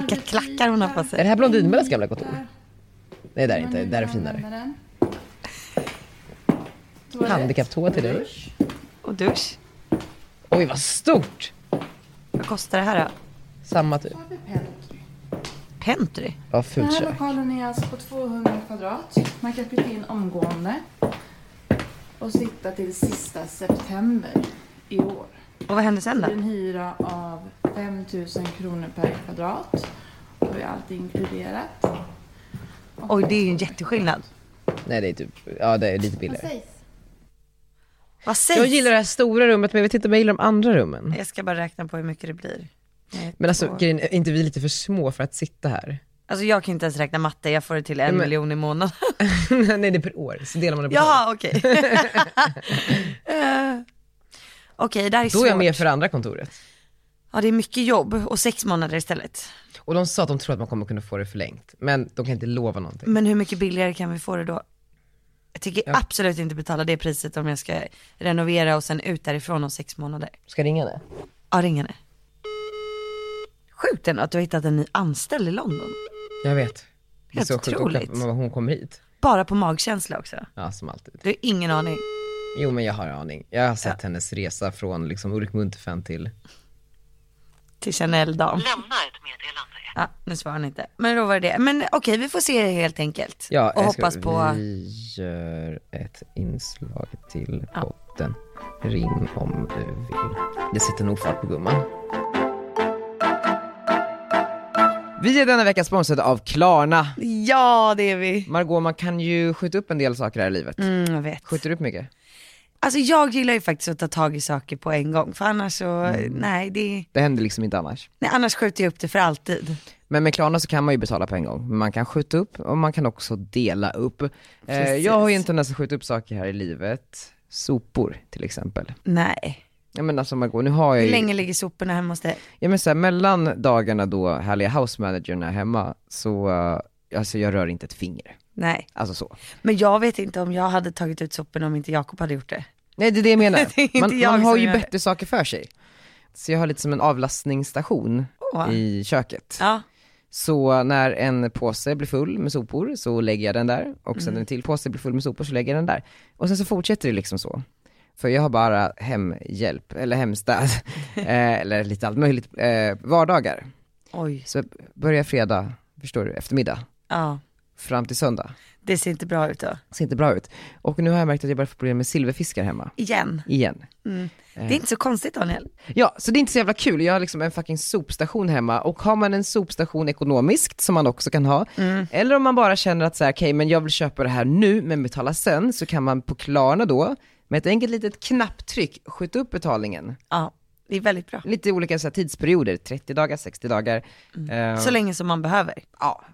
B: vilka klackar hon har på
A: Är
B: sig.
A: det här Blondinbellas gamla kontor? Nej, där är inte. Där är finare. Handikapptoa till dig.
B: Och dusch.
A: Oj, vad stort!
B: Vad kostar det här då?
A: Samma typ.
B: Pentry?
A: Ja,
D: Den
A: fult
D: här
A: kök.
D: lokalen är alltså på 200 kvadrat. Man kan flytta in omgående och sitta till sista september i år.
B: Och vad händer sen
D: Det är en
B: då?
D: hyra av 5 000 kronor per kvadrat. Då är allt inkluderat.
B: Oj, det är ju en jätteskillnad.
A: Nej, det är typ, ja det är lite
D: Vad
A: billigare.
D: sägs?
B: Vad sägs?
A: Jag gillar det här stora rummet men jag vet inte om jag gillar de andra rummen.
B: Jag ska bara räkna på hur mycket det blir. Ett,
A: Men alltså
B: två.
A: grejen, är inte vi lite för små för att sitta här?
B: alltså jag kan inte ens räkna matte, jag får det till en
A: men-
B: miljon i månaden.
A: Nej det är per år, så delar man det på två.
B: Jaha, okej. Eh, Okej, det här
A: Då
B: är svårt.
A: är jag med för andra kontoret.
B: Ja, det är mycket jobb och sex månader istället.
A: Och de sa att de tror att man kommer kunna få det förlängt, men de kan inte lova någonting.
B: Men hur mycket billigare kan vi få det då? Jag tänker absolut inte betala det priset om jag ska renovera och sen ut därifrån om sex månader.
A: Ska jag ringa henne?
B: Ja, ring henne. Sjukt ändå att du har hittat en ny anställd i London.
A: Jag vet. Det är
B: Helt
A: så sjukt och
B: otroligt.
A: knappt att hon kommer hit.
B: Bara på magkänsla också.
A: Ja, som alltid.
B: Du har ingen aning.
A: Jo men jag har en aning. Jag har sett hennes resa från liksom Ulrik Munterfen till...
B: Till Chanel-dam.
E: Lämna ett meddelande.
B: Ja, nu svarar han inte. Men då var det det. Men okej, vi får se helt enkelt.
A: Ja,
B: och
A: jag ska-
B: hoppas på...
A: Vi gör ett inslag till podden. Ring om du vill. Det sätter nog fart på gumman. Vi är denna vecka sponsrade av Klarna.
B: Ja, det är vi.
A: Margot, man kan ju skjuta upp en del saker här i livet.
B: Mm, jag vet.
A: Skjuter du upp mycket?
B: Alltså jag gillar ju faktiskt att ta tag i saker på en gång, för annars så,
A: Mm.
B: nej, det,
A: Det händer liksom inte annars.
B: nej annars skjuter jag upp det för alltid.
A: Men med Klarna så kan man ju betala på en gång. Men Man kan skjuta upp och man kan också dela upp. Eh, jag har ju en tendens att skjuta upp saker här i livet. Sopor till exempel. alltså,
B: Nej.
A: Jag menar som Margot, nu har jag
B: Hur
A: ju...
B: länge ligger soporna hemma hos dig?
A: Ja men så här, mellan dagarna då härliga housemanagern är hemma så, eh, alltså jag rör inte ett finger.
B: Nej.
A: Alltså så.
B: Men jag vet inte om jag hade tagit ut soporna om inte Jakob hade gjort det.
A: Nej det är det jag menar.
B: Det är inte
A: Man,
B: jag
A: man har
B: som
A: ju
B: gör det.
A: bättre saker för sig. Så jag har lite som en avlastningsstation
B: Åh.
A: i köket.
B: Ja.
A: Så när en påse blir full med sopor så lägger jag den där och sen när en till påse blir full med sopor så lägger jag den där. Och sen så fortsätter det liksom så. För jag har bara hemhjälp, eller hemstäd, eh, eller lite allt möjligt, eh, vardagar.
B: Oj.
A: Så börjar fredag, förstår du, eftermiddag,
B: Ja.
A: fram till söndag.
B: Det ser inte bra ut då.
A: Ser inte bra ut. Och nu har jag märkt att jag börjar få problem med silverfiskar hemma.
B: Igen.
A: Igen.
B: Det är inte så konstigt Daniel.
A: Ja, så det är inte så jävla kul. Jag har liksom en fucking sopstation hemma och har man en sopstation ekonomiskt som man också kan ha, eller om man bara känner att så här, okej men jag vill köpa det här nu men betala sen, så kan man på Klarna då, med ett enkelt litet knapptryck, skjuta upp betalningen.
B: Ja, det är väldigt bra.
A: Lite olika så här, tidsperioder, 30 dagar, 60 dagar. Eh,
B: Så länge som man behöver.
A: ja,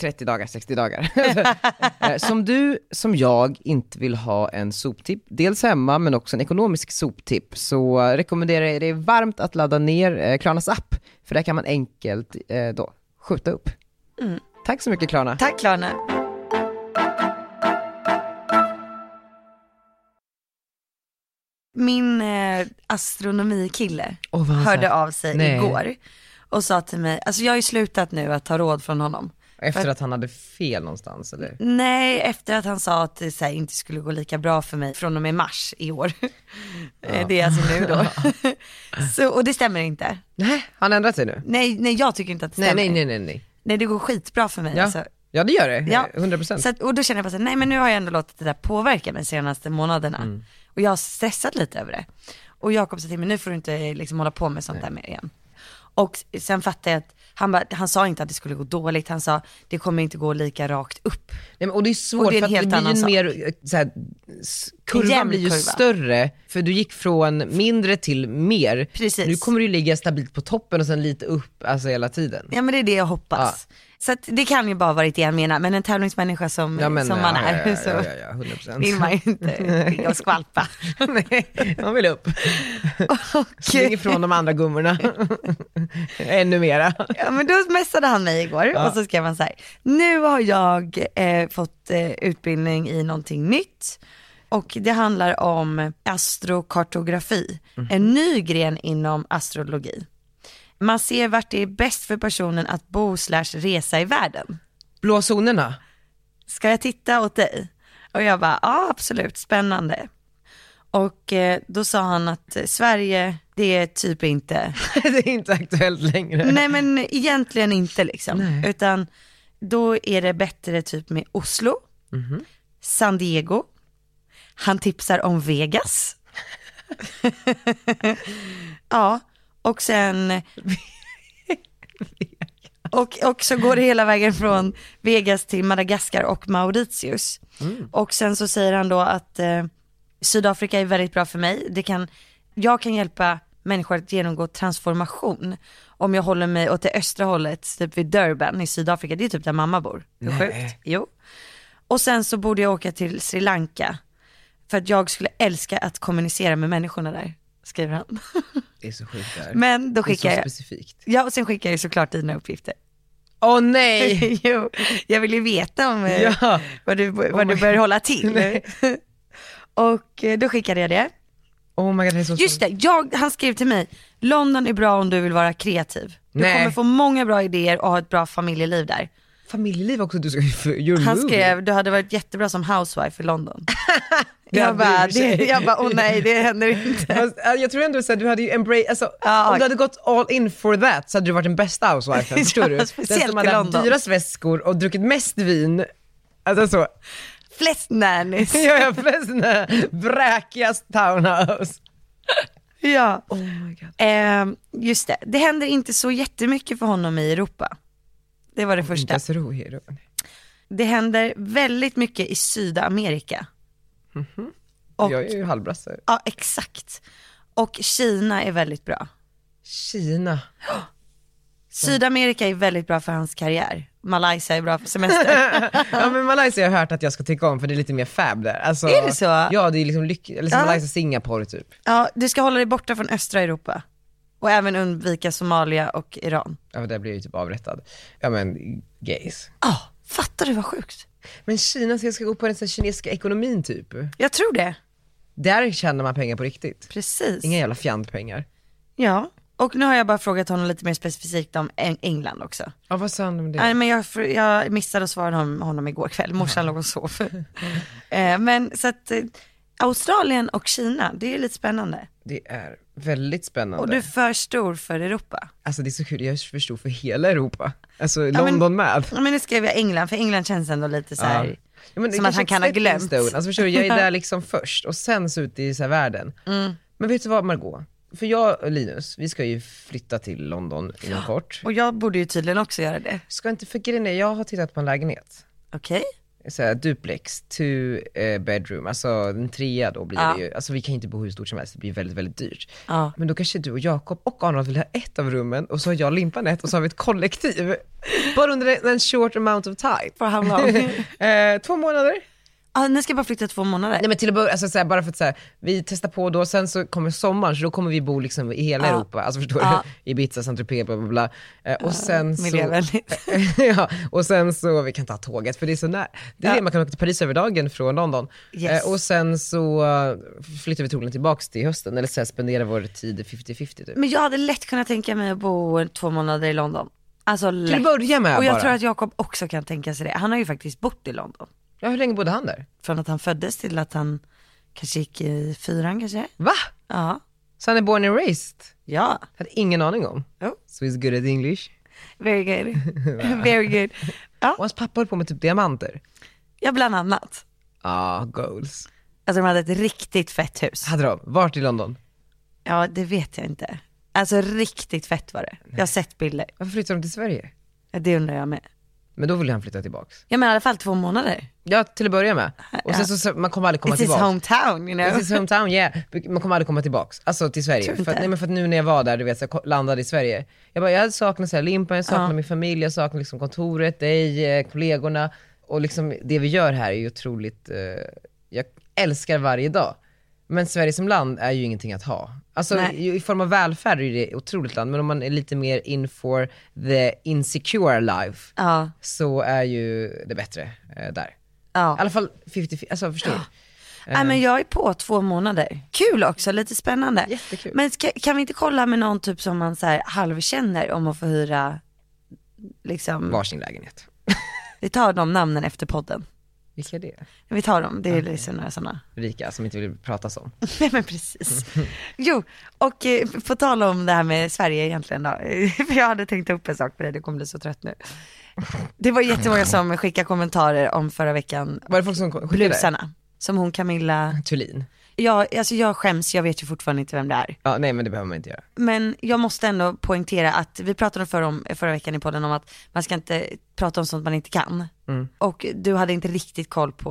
A: 30 dagar, 60 dagar. Eh, som du, som jag, inte vill ha en soptipp, dels hemma men också en ekonomisk soptipp, så eh, rekommenderar jag dig varmt att ladda ner eh, Klarnas app, för där kan man enkelt eh, då skjuta upp. Tack så mycket Klarna.
B: Mm. Tack Klarna. Min eh, astronomikille
A: Åh, vad har han
B: hörde
A: sagt?
B: av sig
A: Nej.
B: igår och sa till mig, alltså jag har ju slutat nu att ta råd från honom.
A: Efter att han hade fel någonstans eller?
B: Nej, efter att han sa att det så här, inte skulle gå lika bra för mig från och med mars i år. Eh, Det är alltså nu då. så, och det stämmer inte.
A: Nej, han har ändrat sig nu.
B: Nej, nej jag tycker inte att det
A: Nej,
B: stämmer.
A: nej, nej, nej, nej.
B: nej det går skitbra för mig
A: Ja. Eh,
B: alltså.
A: ja det gör det,
B: Ja.
A: 100%.
B: Så att, och då känner jag bara så här, nej men nu har jag ändå låtit det där påverka mig de senaste månaderna.
A: Mm.
B: Och jag har stressat lite över det. Och Jakob sa till mig, nu får du inte liksom hålla på med sånt där mer igen. Och sen fattade jag att han, bara, han sa inte att det skulle gå dåligt, han sa det kommer inte gå lika rakt upp.
A: Nej, men, och det är svårt
B: Och det är en
A: för att det
B: helt
A: blir ju
B: annan
A: en
B: sak.
A: mer, eh, så här, s- kurvan
B: Jämn
A: blir ju
B: kurva.
A: större, för du gick från mindre till mer.
B: Precis.
A: Nu kommer du ju ligga stabilt på toppen och sen lite upp, alltså hela tiden.
B: Ja men det är det jag hoppas. Så att det kan ju bara vara det han menar, men en tävlingsmänniska som,
A: Ja, men,
B: som
A: ja,
B: man är
A: ja, ja,
B: så
A: ja, ja, 100%.
B: vill man ju inte ligga och skvalpa.
A: Nej, man vill upp. Släng ifrån de andra gummorna. Ännu mera.
B: Ja, men då messade han mig igår
A: Ja.
B: och så skrev han så här, nu har jag eh, fått eh, utbildning i någonting nytt och det handlar om astrokartografi,
A: Mhm.
B: en ny gren inom astrologi. Man ser vart det är bäst för personen att bo slash resa i världen.
A: Blå zonerna.
B: ska jag titta åt dig? Och jag bara, ja absolut, spännande. Och eh, då sa han att eh, Sverige, det är typ inte,
A: Det är inte aktuellt längre.
B: nej men egentligen inte liksom, utan då är det bättre typ med Oslo, San Diego, han tipsar om Vegas. ja, och sen och, och så går det hela vägen från Vegas till Madagaskar och Mauritius.
A: Mm.
B: Och sen så säger han då att eh, Sydafrika är väldigt bra för mig. Det kan, jag kan hjälpa människor att genomgå transformation. Om jag håller mig åt det östra hållet, typ vid Durban i Sydafrika. Det är typ där mamma bor. Hur sjukt? Jo. Och sen så borde jag åka till Sri Lanka. För att jag skulle älska att kommunicera med människorna där, skriver han.
A: Det är så sjukt där.
B: Men då
A: det är
B: skickar
A: så
B: jag,
A: specifikt.
B: ja och sen skickar jag ju såklart dina uppgifter.
A: Åh nej!
B: jo, jag vill ju veta om eh,
A: Ja.
B: vad du, vad du bör hålla till. och eh, då skickade jag det.
A: Oh my god, det är så
B: Just det, jag, han skrev till mig, London är bra om du vill vara kreativ. Du
A: Nej.
B: kommer få många bra idéer och ha ett bra familjeliv där.
A: Familjeliv också, du ska ju för your
B: Han
A: movie.
B: skrev, du hade varit jättebra som housewife i London. jag,
A: hade du i och
B: bara,
A: för sig.
B: det, jag bara, åh nej det händer inte.
A: Fast, äh, jag tror ändå att du hade ju embrace, alltså,
B: Ja.
A: om du hade gått all in for that så hade du varit den bästa housewifen, förstår du?
B: Ja, speciellt
A: Den som
B: i
A: hade haft
B: London.
A: dyrast väskor och druckit mest vin. Alltså så,
B: Flest nannies.
A: jag är flest sån här vräkigast townhouse.
B: ja.
A: Oh my god.
B: Ehm, just det, det händer inte så jättemycket för honom i Europa. Det var det första.
A: Inte så rolig.
B: Det händer väldigt mycket i Sydamerika. Och,
A: Mhm. Jag är ju halvbrasse.
B: Ja, exakt. Och Kina är väldigt bra.
A: Kina.
B: Sydamerika är väldigt bra för hans karriär. Malaysia är bra för semester.
A: Ja men Malaysia har jag hört att jag ska tycka om för det är lite mer fab där. Alltså,
B: Är det så?
A: Ja det är liksom lyck- eller som
B: Ja.
A: Malaysia, Singapore typ.
B: ja, du ska hålla dig borta från östra Europa. Och även undvika Somalia och Iran.
A: Ja men där blir jag ju typ avrättad. Ja men gays.
B: Ja, fattar du vad sjukt?
A: Men Kina, så jag ska gå på den så här kinesiska ekonomin typ.
B: Jag tror det.
A: Där tjänar man pengar på riktigt.
B: Precis.
A: Inga jävla fjantpengar.
B: Ja, och nu har jag bara frågat honom lite mer specifikt om Eng- England också.
A: Ja vad sa han om det?
B: Nej men jag, fr- jag missade att svara honom, honom igår kväll, morsan låg och sov. eh, men så att eh, Australien och Kina, det är lite spännande.
A: Det är väldigt spännande.
B: Och du är för stor för Europa.
A: Alltså det är så kul, jag förstod för hela Europa. Alltså
B: men-
A: London med.
B: Ja, Men nu skrev jag England, för England känns ändå lite så här,
A: Ja, men det
B: som att
A: kanske
B: han kan ha
A: är stepping
B: glömt.
A: Stone. Alltså förstår du, jag är där liksom först och sen så ute i så här världen.
B: Mm.
A: Men vet du vad Margot? För jag och Linus, vi ska ju flytta till London inom kort.
B: och jag borde ju tydligen också göra det.
A: Ska inte, för grejen är, jag har tittat på en lägenhet.
B: Okej?
A: Så här, duplex, two eh, bedroom, alltså en trea då blir
B: Ja.
A: det ju. Alltså vi kan inte bo hur stort som helst, det blir väldigt, väldigt dyrt.
B: Ja.
A: Men då kanske du och Jakob och Arnold vill ha ett av rummen och så har jag Limpan ett och så har vi ett kollektiv. Bara under en short amount of time.
B: For how long?
A: eh, två månader.
B: ah, ni ska bara flytta två månader?
A: Nej men till att börja, alltså, såhär, bara för att såhär, vi testar på då, sen så kommer sommaren, så då kommer vi bo liksom i hela
B: Ja.
A: Europa, alltså förstår
B: Ja.
A: du? Ibiza, Saint Tropez, bla bla bla. Eh, och sen så...
B: miljövänligt.
A: ja, och sen så, vi kan ta tåget för det är så nära. Det är
B: Ja.
A: det, man kan åka till Paris över dagen från London.
B: Yes.
A: Eh, och sen så eh, flyttar vi troligen tillbaks till hösten, eller såhär, spenderar vår tid 50-50 typ.
B: Men jag hade lätt kunnat tänka mig att bo två månader i London. Alltså lätt.
A: Till att börja med
B: Och jag
A: bara.
B: tror att Jakob också kan tänka sig det. Han har ju faktiskt bott i London.
A: Ja, hur länge bodde han där?
B: Från att han föddes till att han kanske gick i fyran kanske?
A: Va?
B: Ja.
A: Så han är born and raised?
B: Ja.
A: Hade ingen aning om.
B: Jo.
A: So he's good at English.
B: Very good. Very good.
A: Och hans pappa höll på med typ diamanter.
B: Ja, bland annat.
A: Ah, goals.
B: Alltså de hade ett riktigt fett hus.
A: Hade de? Vart i London?
B: Ja, det vet jag inte. Alltså riktigt fett var det. Jag har sett bilder.
A: Varför flyttade de till Sverige?
B: Ja, Det undrar jag med.
A: Men då ville han flytta tillbaks.
B: Jag menar i alla fall två månader.
A: Ja, till att börja med. Och sen så, så man kommer aldrig komma
B: It's his
A: tillbaks.
B: hometown you
A: This
B: know.
A: is hometown, yeah. Man kommer aldrig komma tillbaks, alltså till Sverige.
B: Tror
A: För
B: inte.
A: att, nej, men för att nu när jag var där, du vet, så jag ko- landade i Sverige. Jag bara, jag hade saknat så här, Limpan, jag saknade
B: Ja.
A: min familj, jag saknade liksom kontoret, dig, eh, kollegorna. Och liksom det vi gör här är ju otroligt, eh, jag älskar varje dag. Men Sverige som land är ju ingenting att ha. Alltså
B: Nej.
A: i, i form av välfärd är ju det ett otroligt land, men om man är lite mer in for the insecure life,
B: Ja,
A: så är ju det bättre eh, där. I
B: ja.
A: alla fall 50-50, alltså förstår du?
B: Nej, men jag är på två månader. Kul också, lite spännande.
A: Jättekul.
B: Men ska, kan vi inte kolla med någon typ som man så här halvkänner om att få hyra, liksom,
A: Varsin lägenhet.
B: vi tar de namnen efter podden.
A: Vilka är det?
B: Vi tar dem, det är liksom några sådana.
A: Rika som inte vill pratas om.
B: Nej men precis. Jo, och eh, på tal om det här med Sverige egentligen då, för jag hade tänkt ta upp en sak för dig, du kommer bli så trött nu. Det var jättemånga som skickade kommentarer om förra veckan,
A: Var det folk som skickade?
B: blusarna, som hon Camilla,
A: Thulin.
B: jag, alltså jag skäms, jag vet ju fortfarande inte vem det är.
A: Ja, nej men det behöver man inte göra.
B: Men jag måste ändå poängtera att vi pratade förra, om, förra veckan i podden om att man ska inte prata om sånt man inte kan.
A: Mm.
B: Och du hade inte riktigt koll på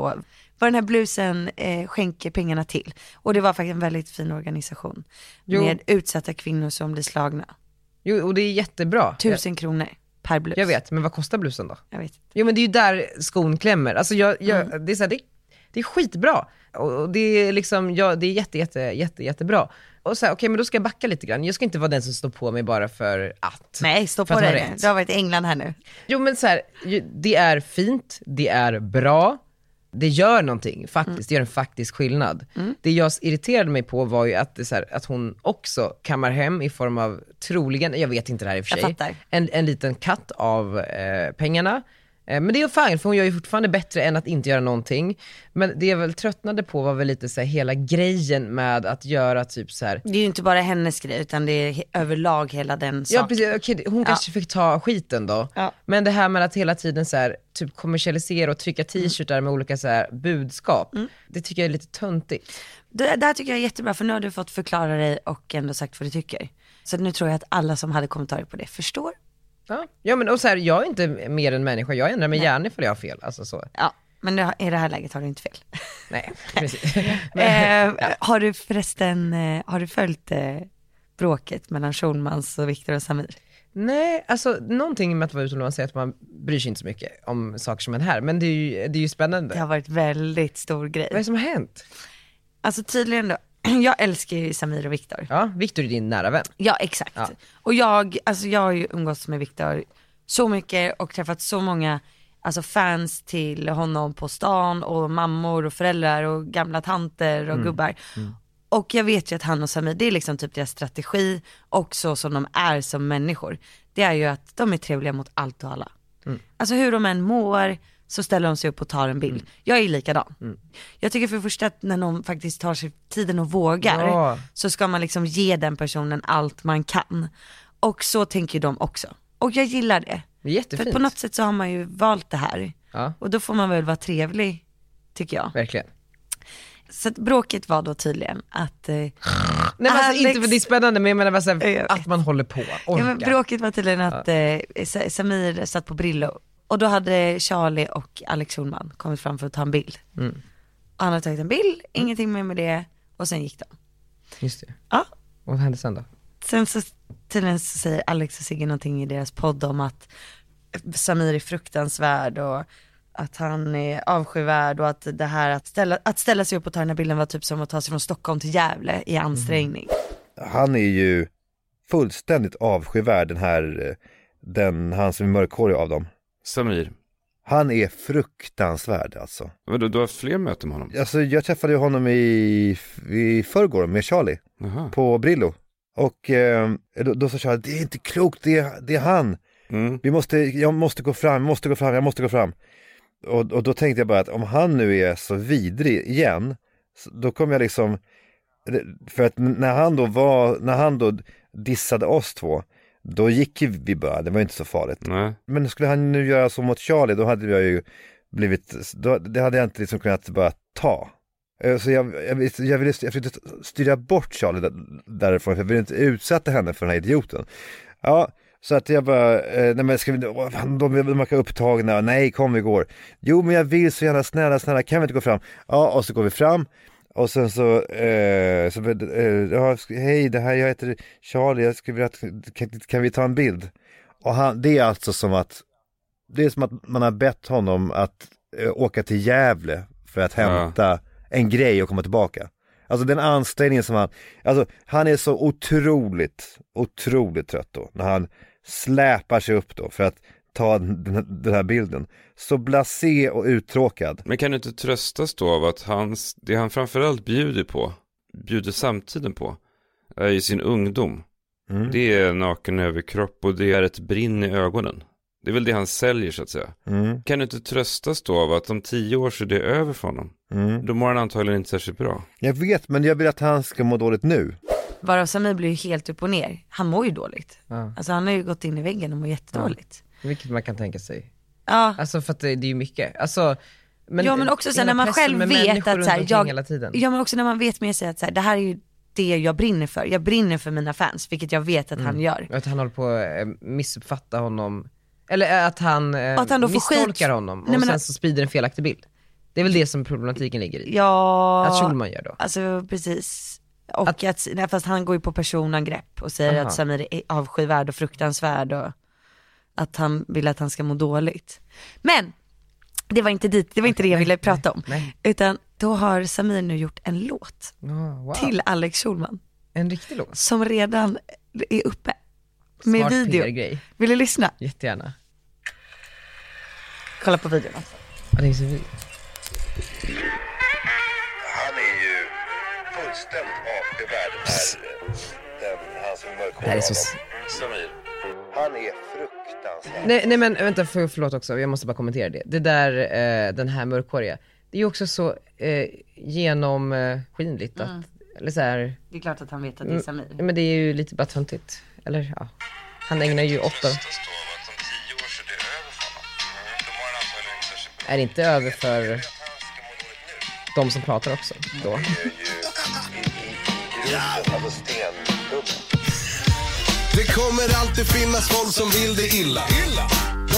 B: vad den här blusen eh, skänker pengarna till. Och det var faktiskt en väldigt fin organisation.
A: Jo.
B: Med utsatta kvinnor som blir slagna.
A: Jo, och det är jättebra.
B: Tusen kronor per blus.
A: Jag, jag vet, men vad kostar blusen då?
B: Jag vet.
A: Jo men det är ju där skon klämmer. Alltså jag, jag, det, är så här, det, det är skitbra. Och och det är liksom, ja, det är jätte, jätte, jätte, jättebra. Och så här, okej men då ska jag backa lite grann. Jag ska inte vara den som står på mig bara för att.
B: Nej, stå
A: För
B: på
A: att ha
B: dig nu.
A: rätt.
B: Du har varit i England här nu.
A: Jo men så här, ju- det är fint, det är bra, det gör någonting faktiskt, det gör en faktisk skillnad.
B: Mm.
A: Det jag irriterade mig på var ju att, det så här, att hon också kammar hem i form av, troligen, jag vet inte det här i och för
B: Jag
A: sig,
B: fattar.
A: en, en liten katt av eh, pengarna. Eh, men det är fine, för hon gör ju fortfarande bättre än att inte göra någonting. Men det jag väl tröttnade på var väl lite så här, hela grejen med att göra typ så här
B: Det är ju inte bara hennes grej utan det är he- överlag hela den
A: Ja
B: saken.
A: precis, Okej, hon kanske fick ta skiten då.
B: Ja.
A: Men det här med att hela tiden så här, typ kommersialisera och
B: Mm.
A: trycka t-shirtar med olika så här, budskap, det tycker jag är lite töntigt.
B: Det, det här tycker jag är jättebra för nu har du fått förklara dig och ändå sagt vad du tycker. Så nu tror jag att alla som hade kommentarer på det förstår.
A: Ja, ja men och så här, jag är inte mer än människa, jag ändrar mig gärna ifall jag har fel. Alltså så,
B: Ja, men nu, har- i det här läget har du inte fel.
A: nej precis. Men,
B: Eh, Har du förresten, eh, har du följt eh, bråket mellan Schulmans och Viktor och Samir?
A: nej, alltså någonting med att vara utomlands är att man bryr sig inte så mycket om saker som är här, men det är ju, det är ju spännande.
B: Det har varit väldigt stor
A: Vad är
B: grej.
A: det som har hänt?
B: Alltså tydligen då, jag älskar ju Samir och Viktor.
A: Ja, Viktor är din nära vän.
B: Ja exakt.
A: Ja.
B: Och jag, alltså jag har ju umgåtts med Viktor så mycket och träffat så många alltså fans till honom på stan och mammor och föräldrar och gamla tanter
A: Mm.
B: och gubbar. Och jag vet ju att han och Samir, det är liksom typ deras strategi och så som de är som människor. Det är ju att de är trevliga mot allt och alla.
A: Mm.
B: Alltså hur de än mår så ställer de sig upp och tar en
A: Mm.
B: bild. Jag är likadan. Jag tycker för det första att när någon faktiskt tar sig tiden och vågar
A: Ja.
B: så ska man liksom ge den personen allt man kan. Och så tänker ju de också. Och jag gillar det.
A: Det är
B: För
A: jättefint.
B: att på något sätt så har man ju valt det här.
A: Ja,
B: Och då får man väl vara trevlig, tycker jag.
A: verkligen.
B: Så att bråket var då tydligen att, eh,
A: Nej men alltså,
B: Alex-
A: inte för det är spännande, men jag menar bara så
B: Jag
A: här,
B: vet.
A: att man håller på,
B: ja,
A: orkar.
B: men bråket var tydligen att eh, Sa- Samir satt på Brillo. Och då hade Charlie och Alex Schulman kommit fram för att ta en bild.
A: Mm.
B: Och han hade tagit en bild, ingenting mer med det. Och sen gick de.
A: Just det.
B: Ja,
A: Och vad hände sen då?
B: Sen så tydligen så säger Alex och Sigge någonting i deras podd om att Samir är fruktansvärd och att han är avskyvärd och att det här att ställa, att ställa sig upp och ta den här bilden var typ som att ta sig från Stockholm till Gävle i ansträngning.
A: Mm.
E: han är ju fullständigt avskyvärd den här, eh, den, han som är mörkhårig av dem.
F: Samir,
E: Han är fruktansvärd alltså.
F: vadå, du har fler möten med honom?
E: Alltså jag träffade ju honom i, i förrgår med Charlie
F: Jaha.
E: på Brillo. Och eh, då, då sa Charlie, det är inte klokt, det är, det är han.
F: Mm.
E: Vi måste, jag måste gå fram, jag måste gå fram, jag måste gå fram. Och, och då tänkte jag bara att om han nu är så vidrig igen, så- då kommer jag liksom, för att när han då var, när han då dissade oss två, då gick ju vi bara, det var ju inte så farligt.
F: Nej.
E: Men skulle han nu göra så mot Charlie, då hade jag ju blivit, då, det hade jag inte liksom kunnat bara ta. Eh, Så jag, jag, vis- jag, ville, jag försökte styra bort Charlie där- därifrån, för jag ville inte utsätta henne för den här idioten. Ja, Så att jag bara, eh, nej men ska vi, åh, fan, de de verkar upptagna, nej kom vi går. Jo men jag vill så gärna, snälla, snälla kan vi inte gå fram? Ja, och så går vi fram. Och sen så, eh, så eh, ja, sk- hej det här, jag heter Charlie, jag skulle vilja, att- kan, kan vi ta en bild? Och han, det är alltså som att, det är som att man har bett honom att eh, åka till Gävle för att
F: Ja.
E: hämta en grej och komma tillbaka. Alltså den ansträngningen som han, alltså han är så otroligt, otroligt trött då när han släpar sig upp då för att ta den, den här bilden. Så blasé och uttråkad.
F: Men kan du inte tröstas då av att hans, det han framförallt bjuder på, bjuder samtiden på, är i sin ungdom.
E: Mm.
F: Det är naken överkropp och det är ett brinn i ögonen. Det är väl det han säljer så att säga.
E: Mm,
F: Kan du inte tröstas då av att om tio år så är det över för honom?
E: mm.
F: Då mår han antagligen inte särskilt bra.
E: Jag vet men jag vill att han ska må dåligt nu.
B: Varav Samir blir ju helt upp och ner. Han mår ju dåligt.
A: Ja.
B: Alltså han har ju gått in i väggen och mår jättedåligt.
A: Vilket man kan tänka sig.
B: Ja.
A: Alltså för att det, det är ju mycket. Alltså, men,
B: ja men också sen
A: hela
B: när man
A: pressen
B: själv
A: med
B: vet
A: människor
B: att så här,
A: runt omkring
B: jag,
A: Hela tiden.
B: ja men också när man vet med sig att så här, det här är ju det jag brinner för. Jag brinner för mina fans, vilket jag vet att
A: Mm.
B: han gör.
A: Att han håller på att eh, missuppfatta honom, eller eh, att han, eh,
B: Att han då får
A: misstolkar
B: skit.
A: honom och
B: Nej, men
A: sen
B: att-
A: så sprider en felaktig bild. Det är väl det som problematiken ligger i.
B: Ja,
A: Att Schulman gör då.
B: alltså precis. Och att, nej, fast han går ju på personangrepp och säger
A: Aha.
B: att Samir är avskyvärd och fruktansvärd och att han vill att han ska må dåligt. Men det var inte dit, det var inte det jag ville prata om.
A: nej.
B: Utan då har Samir nu gjort en låt
A: Ja, Ah, wow.
B: till Alex Schulman
A: En riktig låt.
B: som redan är uppe med
A: Smart
B: video.
A: PR-grej.
B: Vill du lyssna?
A: Jättegärna.
B: Kolla på videon. alltså.
A: Ja, det är så fint.
E: Han är ju fullständigt avskyvärd den han som
A: Det här är så... s-
E: Han är fruktansvärd.
A: Nej, nej men vänta, för, förlåt också, jag måste bara kommentera det. Det där, eh, den här mörkhåriga, det är ju också så eh, genomskinligt att, eller så här,
B: Det är klart att han vet att det är
A: Mm.
B: Samir.
A: men det är ju lite bara töntigt. Eller ja, han ägnar ju åtta Är det inte över för de som pratar också då?
G: Det kommer alltid finnas folk som vill det illa.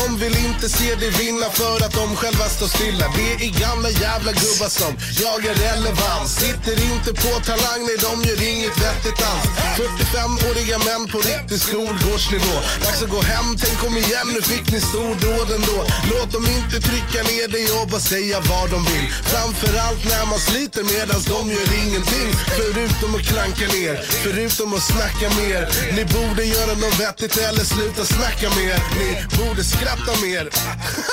G: De vill inte se dig vinna för att de själva står stilla. Det är gamla jävla gubbar som jagar relevans. Sitter inte på talang, nej de gör inget vettigt alls. 45-åriga män på riktig skolgårdsnivå. Dags att gå hem, tänk kom igen, nu fick ni stordåd ändå. Låt dem inte trycka ner dig och bara säga vad de vill. Framförallt när man sliter medans de gör ingenting. Förutom att klanka ner, förutom att snacka mer. Ni borde göra något vettigt eller sluta snacka mer. Ni borde skratta mer.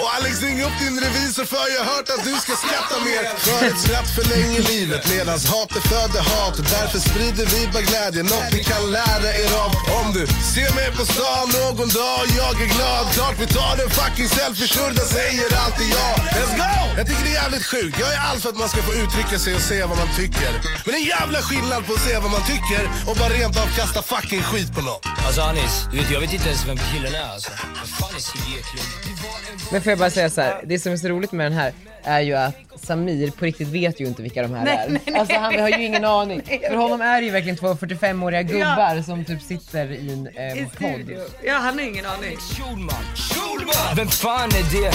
G: och Alex ring upp din revisor för jag har hört att du ska skratta mer. För ett skratt förlänger livet medans hatet föder hat. Därför sprider vi bara glädje, något ni kan lära er av. Om du ser mig på stan någon dag, jag är glad. Klart vi tar en fucking selfie, shurda säger alltid ja. Let's go! Jag tycker det är jävligt sjukt. Jag är allt för att man ska få uttrycka sig och säga vad man tycker. Men det är en jävla skillnad på att säga vad man tycker och bara rent av kasta fucking skit på någon.
H: Alltså Anis, du vet, jag vet inte ens vem killen är alltså. Vad fan är Sigge Eklund?
A: Men får jag bara säga så här, det som är så roligt med den här är ju att Samir på riktigt vet ju inte vilka de här är. alltså han har ju ingen aning. För honom är det ju verkligen två 45-åriga gubbar som typ sitter i en eh, podd.
B: Ja han har ingen aning.
H: Schulman. Schulman! Vem fan är det?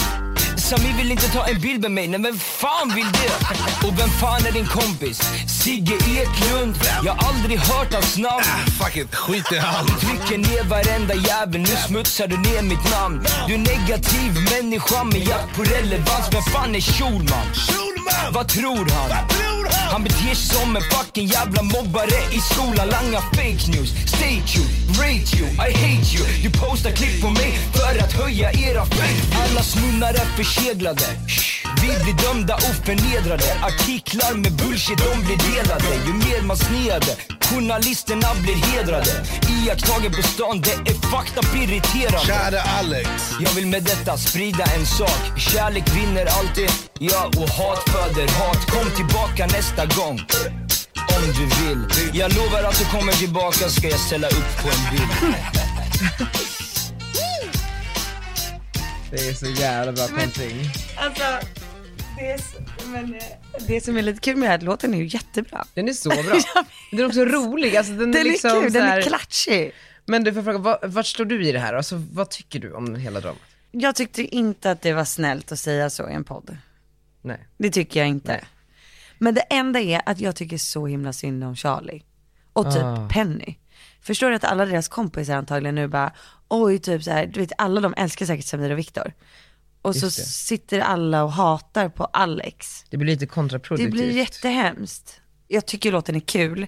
H: Sami vill inte ta en bild med mig, nej vem fan vill det? Och vem fan är din kompis? Sigge Eklund? Jag har aldrig hört hans namn.
G: Ah, Fuck it, skit i han.
H: Du trycker ner varenda jävel, nu smutsar du ner mitt namn. Du är negativ människa med jakt på relevans. Vem fan är Schulman?
G: Schulman!
H: Vad tror han?
G: tror han?
H: Han beter sig som en fucking jävla mobbare i skolan Langar fake news, state you, rate you, I hate you Du postar klipp på mig för att höja era fake Allas munnar är förseglade Shh. vi blir dömda och förnedrade Artiklar med bullshit de blir delade Ju mer man sneade Journalisterna blir hedrade Iakttagen på stan, det är fakta irriterande
G: Kära Alex.
H: jag vill med detta sprida en sak Kärlek vinner alltid, ja och hat föder hat Kom tillbaka nästa gång om du vill Jag lovar att du kommer tillbaka ska jag ställa upp på en bild
A: Det är så jävla bra kontring.
B: Alltså, det är, så- men, eh, det som är lite kul med den här låten är ju jättebra.
A: Den är så bra. Den är också rolig. Alltså, den,
B: Den är
A: liksom
B: kul,
A: så
B: den
A: här,
B: är klatschig.
A: Men du får fråga, vad, vart står du i det här då? Alltså vad tycker du om hela dramat?
B: Jag tyckte inte att det var snällt att säga så i en podd.
A: Nej.
B: Det tycker jag inte. Men det enda är att jag tycker så himla synd om Charlie. Och typ
A: Ah.
B: Penny. Förstår du att alla deras kompisar antagligen nu bara, oj typ så här, du vet alla de älskar säkert Samir och Viktor. Och så
A: Just det.
B: sitter alla och hatar på Alex.
A: Det blir lite kontraproduktivt.
B: Det blir jättehemskt. Jag tycker låten är kul,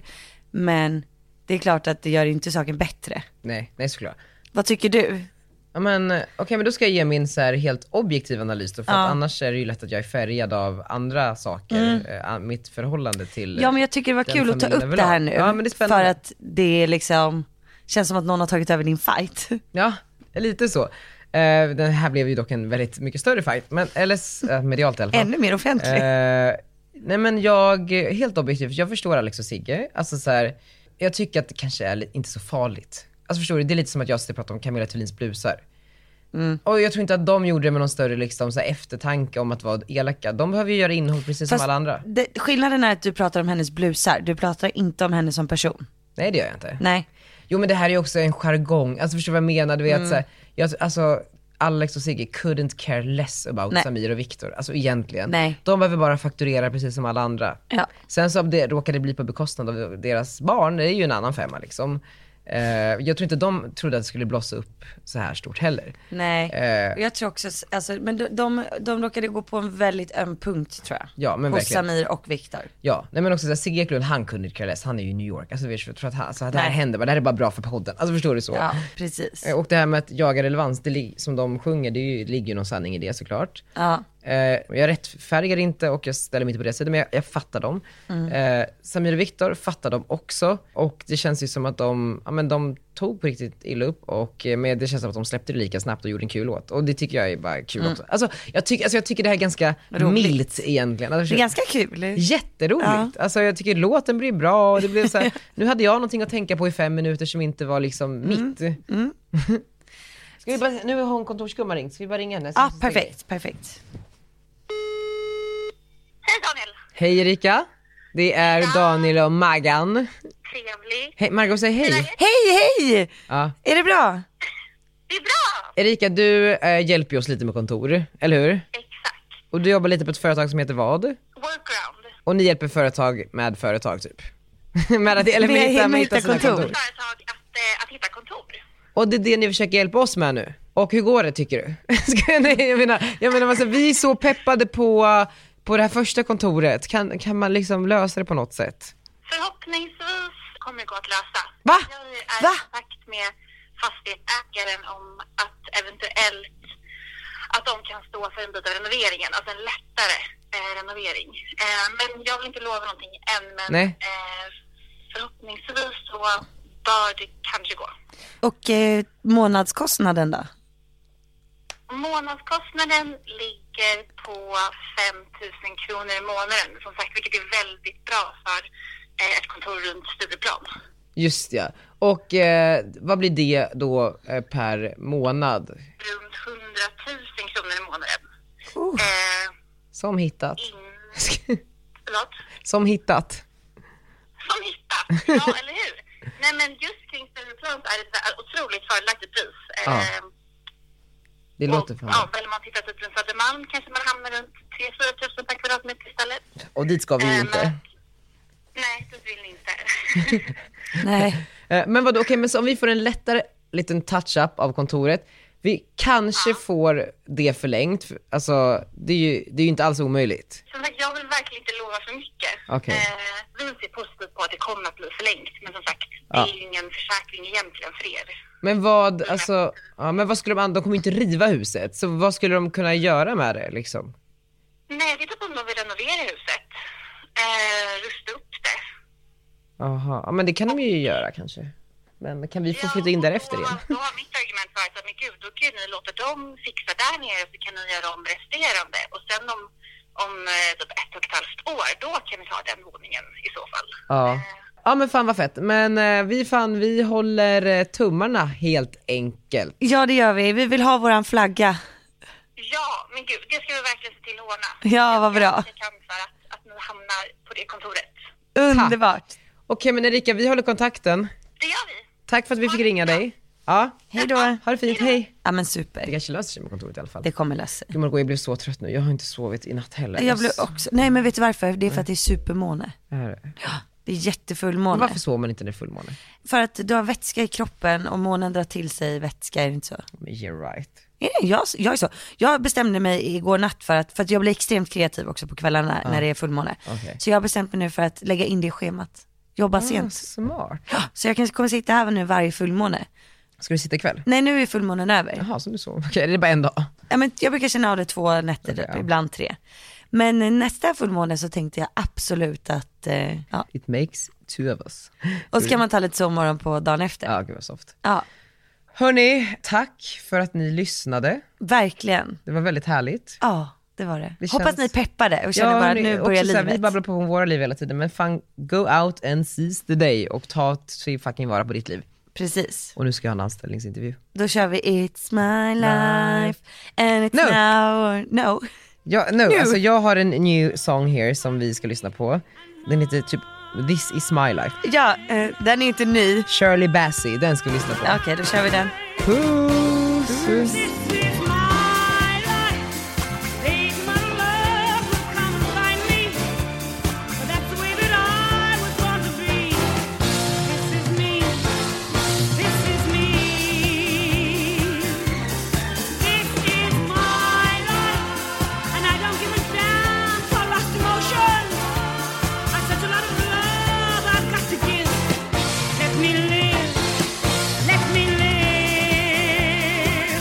B: men det är klart att det gör inte saken bättre.
A: Nej, nej såklart.
B: Vad tycker du?
A: Ja, men, eh, Okej men då ska jag ge min så här, helt objektiva analys då, för
B: Ja. Mm.
A: att annars är det ju lätt att jag är färgad av andra saker, eh, an- mitt förhållande till
B: Ja men jag tycker det var
A: den
B: kul att ta
A: familjen
B: upp det här nu.
A: överlag. Ja men det är
B: för
A: spännande.
B: att det är liksom, känns som att någon har tagit över din fight.
A: Ja, lite så. Eh, den här blev ju dock en väldigt mycket större fight, men, eller s- eh, medialt i alla fall.
B: Ännu mer offentlig.
A: Eh, nej men jag, helt objektivt, jag förstår Alex och Sigge. Alltså så här, jag tycker att det kanske är li- inte så farligt. Alltså förstår du, det är lite som att jag sitter och pratar om Camilla Thulins blusar. Och jag tror inte att de gjorde det med någon större liksom, så här, eftertanke om att vara elaka. De behöver ju göra innehåll precis
B: Fast
A: som alla andra.
B: Det, skillnaden är att du pratar om hennes blusar, du pratar inte om henne som person.
A: Nej det gör jag inte.
B: Nej.
A: Jo men det här är ju också en jargong, alltså förstår du vad jag menar? Du vet
B: Mm.
A: så här, jag, alltså Alex och Sigge couldn't care less about
B: Nej.
A: Samir och Viktor, alltså egentligen.
B: Nej.
A: De behöver bara fakturera precis som alla andra.
B: Ja.
A: Sen så om det råkade bli på bekostnad av deras barn, det är ju en annan femma liksom. Eh, jag tror inte de trodde att det skulle blossa upp så här stort heller.
B: Nej.
A: Eh,
B: Och Jag tror också, alltså, men de, de, de råkade gå på en väldigt öm punkt tror jag.
A: Ja, men
B: Hos
A: verkligen.
B: Samir och Viktor.
A: Ja, nej men också såhär, Sigge Eklund han kunde inte care less, han är ju i New York. Alltså vet du, för att han, så att det här
B: Nej.
A: händer bara, det här är bara bra för podden. Alltså förstår du så?
B: Ja, precis.
A: Eh, Och det här med att jaga relevans, det, li- som de sjunger, det är ju, ligger ju någon sanning i det såklart.
B: Ja.
A: Eh, jag rättfärdigar inte och jag ställer mig inte på deras sida, men jag, jag fattar dem.
B: Mm.
A: Eh, Samir och Viktor fattar dem också. Och det känns ju som att de, ja, men de tog på riktigt illa upp och eh, men det känns som att de släppte det lika snabbt och gjorde en kul låt. Och det tycker jag är bara kul
B: Mm.
A: också. Alltså jag, tycker alltså jag tycker det här är ganska
B: Roligt.
A: milt egentligen. Alltså,
B: Det är ganska kul.
A: Jätteroligt.
B: Ja.
A: Alltså jag tycker låten blir bra och det blev så här, nu hade jag någonting att tänka på i fem minuter som inte var liksom
B: Mm.
A: mitt. Ska vi bara, nu har hon kontorsgumman ringt, ska vi bara ringa henne?
B: Ja, perfekt, perfekt.
A: Hej Erika, det är Daniel och Maggan. Trevlig. Hej, Margot säg hej.
B: Hej, hej!
A: Ja.
B: Är det bra?
A: Erika, du eh, hjälper ju oss lite med kontor, eller hur? Exakt. Och du jobbar lite på ett företag som heter vad? Workaround. Och ni hjälper företag med företag typ? med att, eller med,
B: Med-
A: att hitta,
B: med
A: med
B: att
A: hitta
B: hitta
A: sina kontor.
B: kontor.
A: eh, Och det är det ni försöker hjälpa oss med nu. Och hur går det tycker du? Ska jag- Nej, jag menar, jag menar alltså, vi är så peppade på, på det här första kontoret. Kan, kan man liksom lösa det på något sätt?
I: Förhoppningsvis kommer det gå att lösa.
A: Va?
I: Jag är
A: Va?
I: i kontakt med fastighetsägaren om att eventuellt att de kan stå för en bit av renoveringen, alltså en lättare eh, renovering. Eh, men jag vill inte lova någonting än, men
A: Nej.
I: eh, förhoppningsvis så bör det kanske gå.
B: Och eh, månadskostnaden då?
I: Månadskostnaden ligger på 5 000 kronor i månaden, som sagt, vilket är väldigt bra för eh, ett kontor runt Stureplan.
A: Just ja. Och eh, vad blir det då eh, per månad?
I: runt 100 000 kronor i månaden.
A: Som hittat.
I: Mm. Förlåt?
A: Som hittat.
I: Som hittat, ja eller hur? Nej men just kring Stureplan så är det ett så- otroligt fördelaktigt pris.
A: Ja.
I: Eh,
A: Det låter fan.
I: Mm. ja, väl om man tittar typ runt Södermalm kanske man hamnar runt 3-4 tusen per kvadratmeter istället.
A: Och dit ska vi ju
I: Eh,
A: inte.
I: Nej, det vill ni inte.
B: Nej.
A: Eh, Men vadå, okej, men så om vi får en lättare liten touch-up av kontoret, vi kanske får det förlängt, för- alltså det är ju, det är ju inte alls omöjligt.
I: Som sagt, jag vill verkligen inte lova för mycket.
A: Okej.
I: Eh, vi ser positivt på att det kommer att bli förlängt, men som sagt,
A: Ja.
I: det är ju ingen försäkring egentligen för er.
A: Men vad, alltså, ja, men vad skulle de, an- de kommer ju inte riva huset, så vad skulle de kunna göra med det liksom?
I: Nej, det är typ om de vill renovera huset. Eh, rusta upp det.
A: Jaha, ja, men det kan de ju göra kanske. Men kan vi få flytta in därefter igen?
I: Då har mitt argument varit att men gud, då kan ju ni låta dem fixa där nere så kan ni göra om resterande och sen om, om eh, typ ett och ett halvt år, då kan ni ta den våningen i så fall.
A: Ja. Ja men fan vad fett. Men eh, vi fan, vi håller eh, tummarna helt enkelt.
B: Ja det gör vi, vi vill ha våran flagga.
I: Ja, men gud, det ska vi verkligen se till att ordna.
B: Ja vad bra.
I: Jag kan för att, att ni hamnar på det kontoret.
B: Underbart.
A: Okej men Erika, vi håller kontakten.
I: Det gör vi.
A: Tack för att vi fick ringa dig. Ja. Hej då. Ha det fint, hej.
B: Ja men super.
A: Det kanske löser sig med kontoret i alla fall.
B: Det kommer lösa sig.
A: Gud Margot, jag blev så trött nu. Jag har inte sovit i natt heller.
B: Jag blev också, nej men vet du varför? Det är för att det är supermåne.
A: Här.
B: Det
A: Men
B: är jättefullmåne.
A: varför sover man inte när det är fullmåne?
B: För att du har vätska i kroppen och månen drar till sig vätska, är det inte så?
A: Men You're right.
B: Nej, Jag, jag är så. Jag bestämde mig igår natt för att, för att jag blir extremt kreativ också på kvällarna
A: Ja.
B: när det är fullmåne.
A: Okej.
B: Så jag har bestämt mig nu för att lägga in det i schemat. Jobba
A: Ah,
B: sent.
A: Smart.
B: Ja, Så jag kanske kommer sitta här nu varje fullmåne.
A: Ska du sitta ikväll?
B: Nej nu är fullmånen över.
A: Jaha, som du såg. Okej, det är bara en dag.
B: Ja, men jag brukar känna av det två nätter typ, ibland tre. Men eh, nästa fullmåne så tänkte jag absolut att, eh, ja.
A: It makes two of us.
B: Och så kan man ta lite sovmorgon på dagen efter.
A: Ja, gud vad soft.
B: Ja,
A: Hörni, tack för att ni lyssnade.
B: verkligen.
A: Det var väldigt härligt.
B: Ja, det var det.
A: Det
B: Hoppas
A: känns-
B: ni peppade och känner bara att
A: hörni,
B: nu
A: också
B: börjar
A: så här,
B: livet.
A: vi babblar på om våra liv hela tiden, men fan go out and seize the day och ta till fucking vara på ditt liv.
B: Precis.
A: Och nu ska jag ha en anställningsintervju.
B: Då kör vi It's my life and it's
A: No.
B: now or no.
A: Ja, no, Alltså jag har en new song here som vi ska lyssna på. Den heter typ This is my life.
B: Ja, eh, den är inte ny.
A: Shirley Bassey, den ska vi lyssna på.
B: Okej, då kör vi den.
A: Puss! Puss.
I: Let me live, let me live.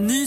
J: Ny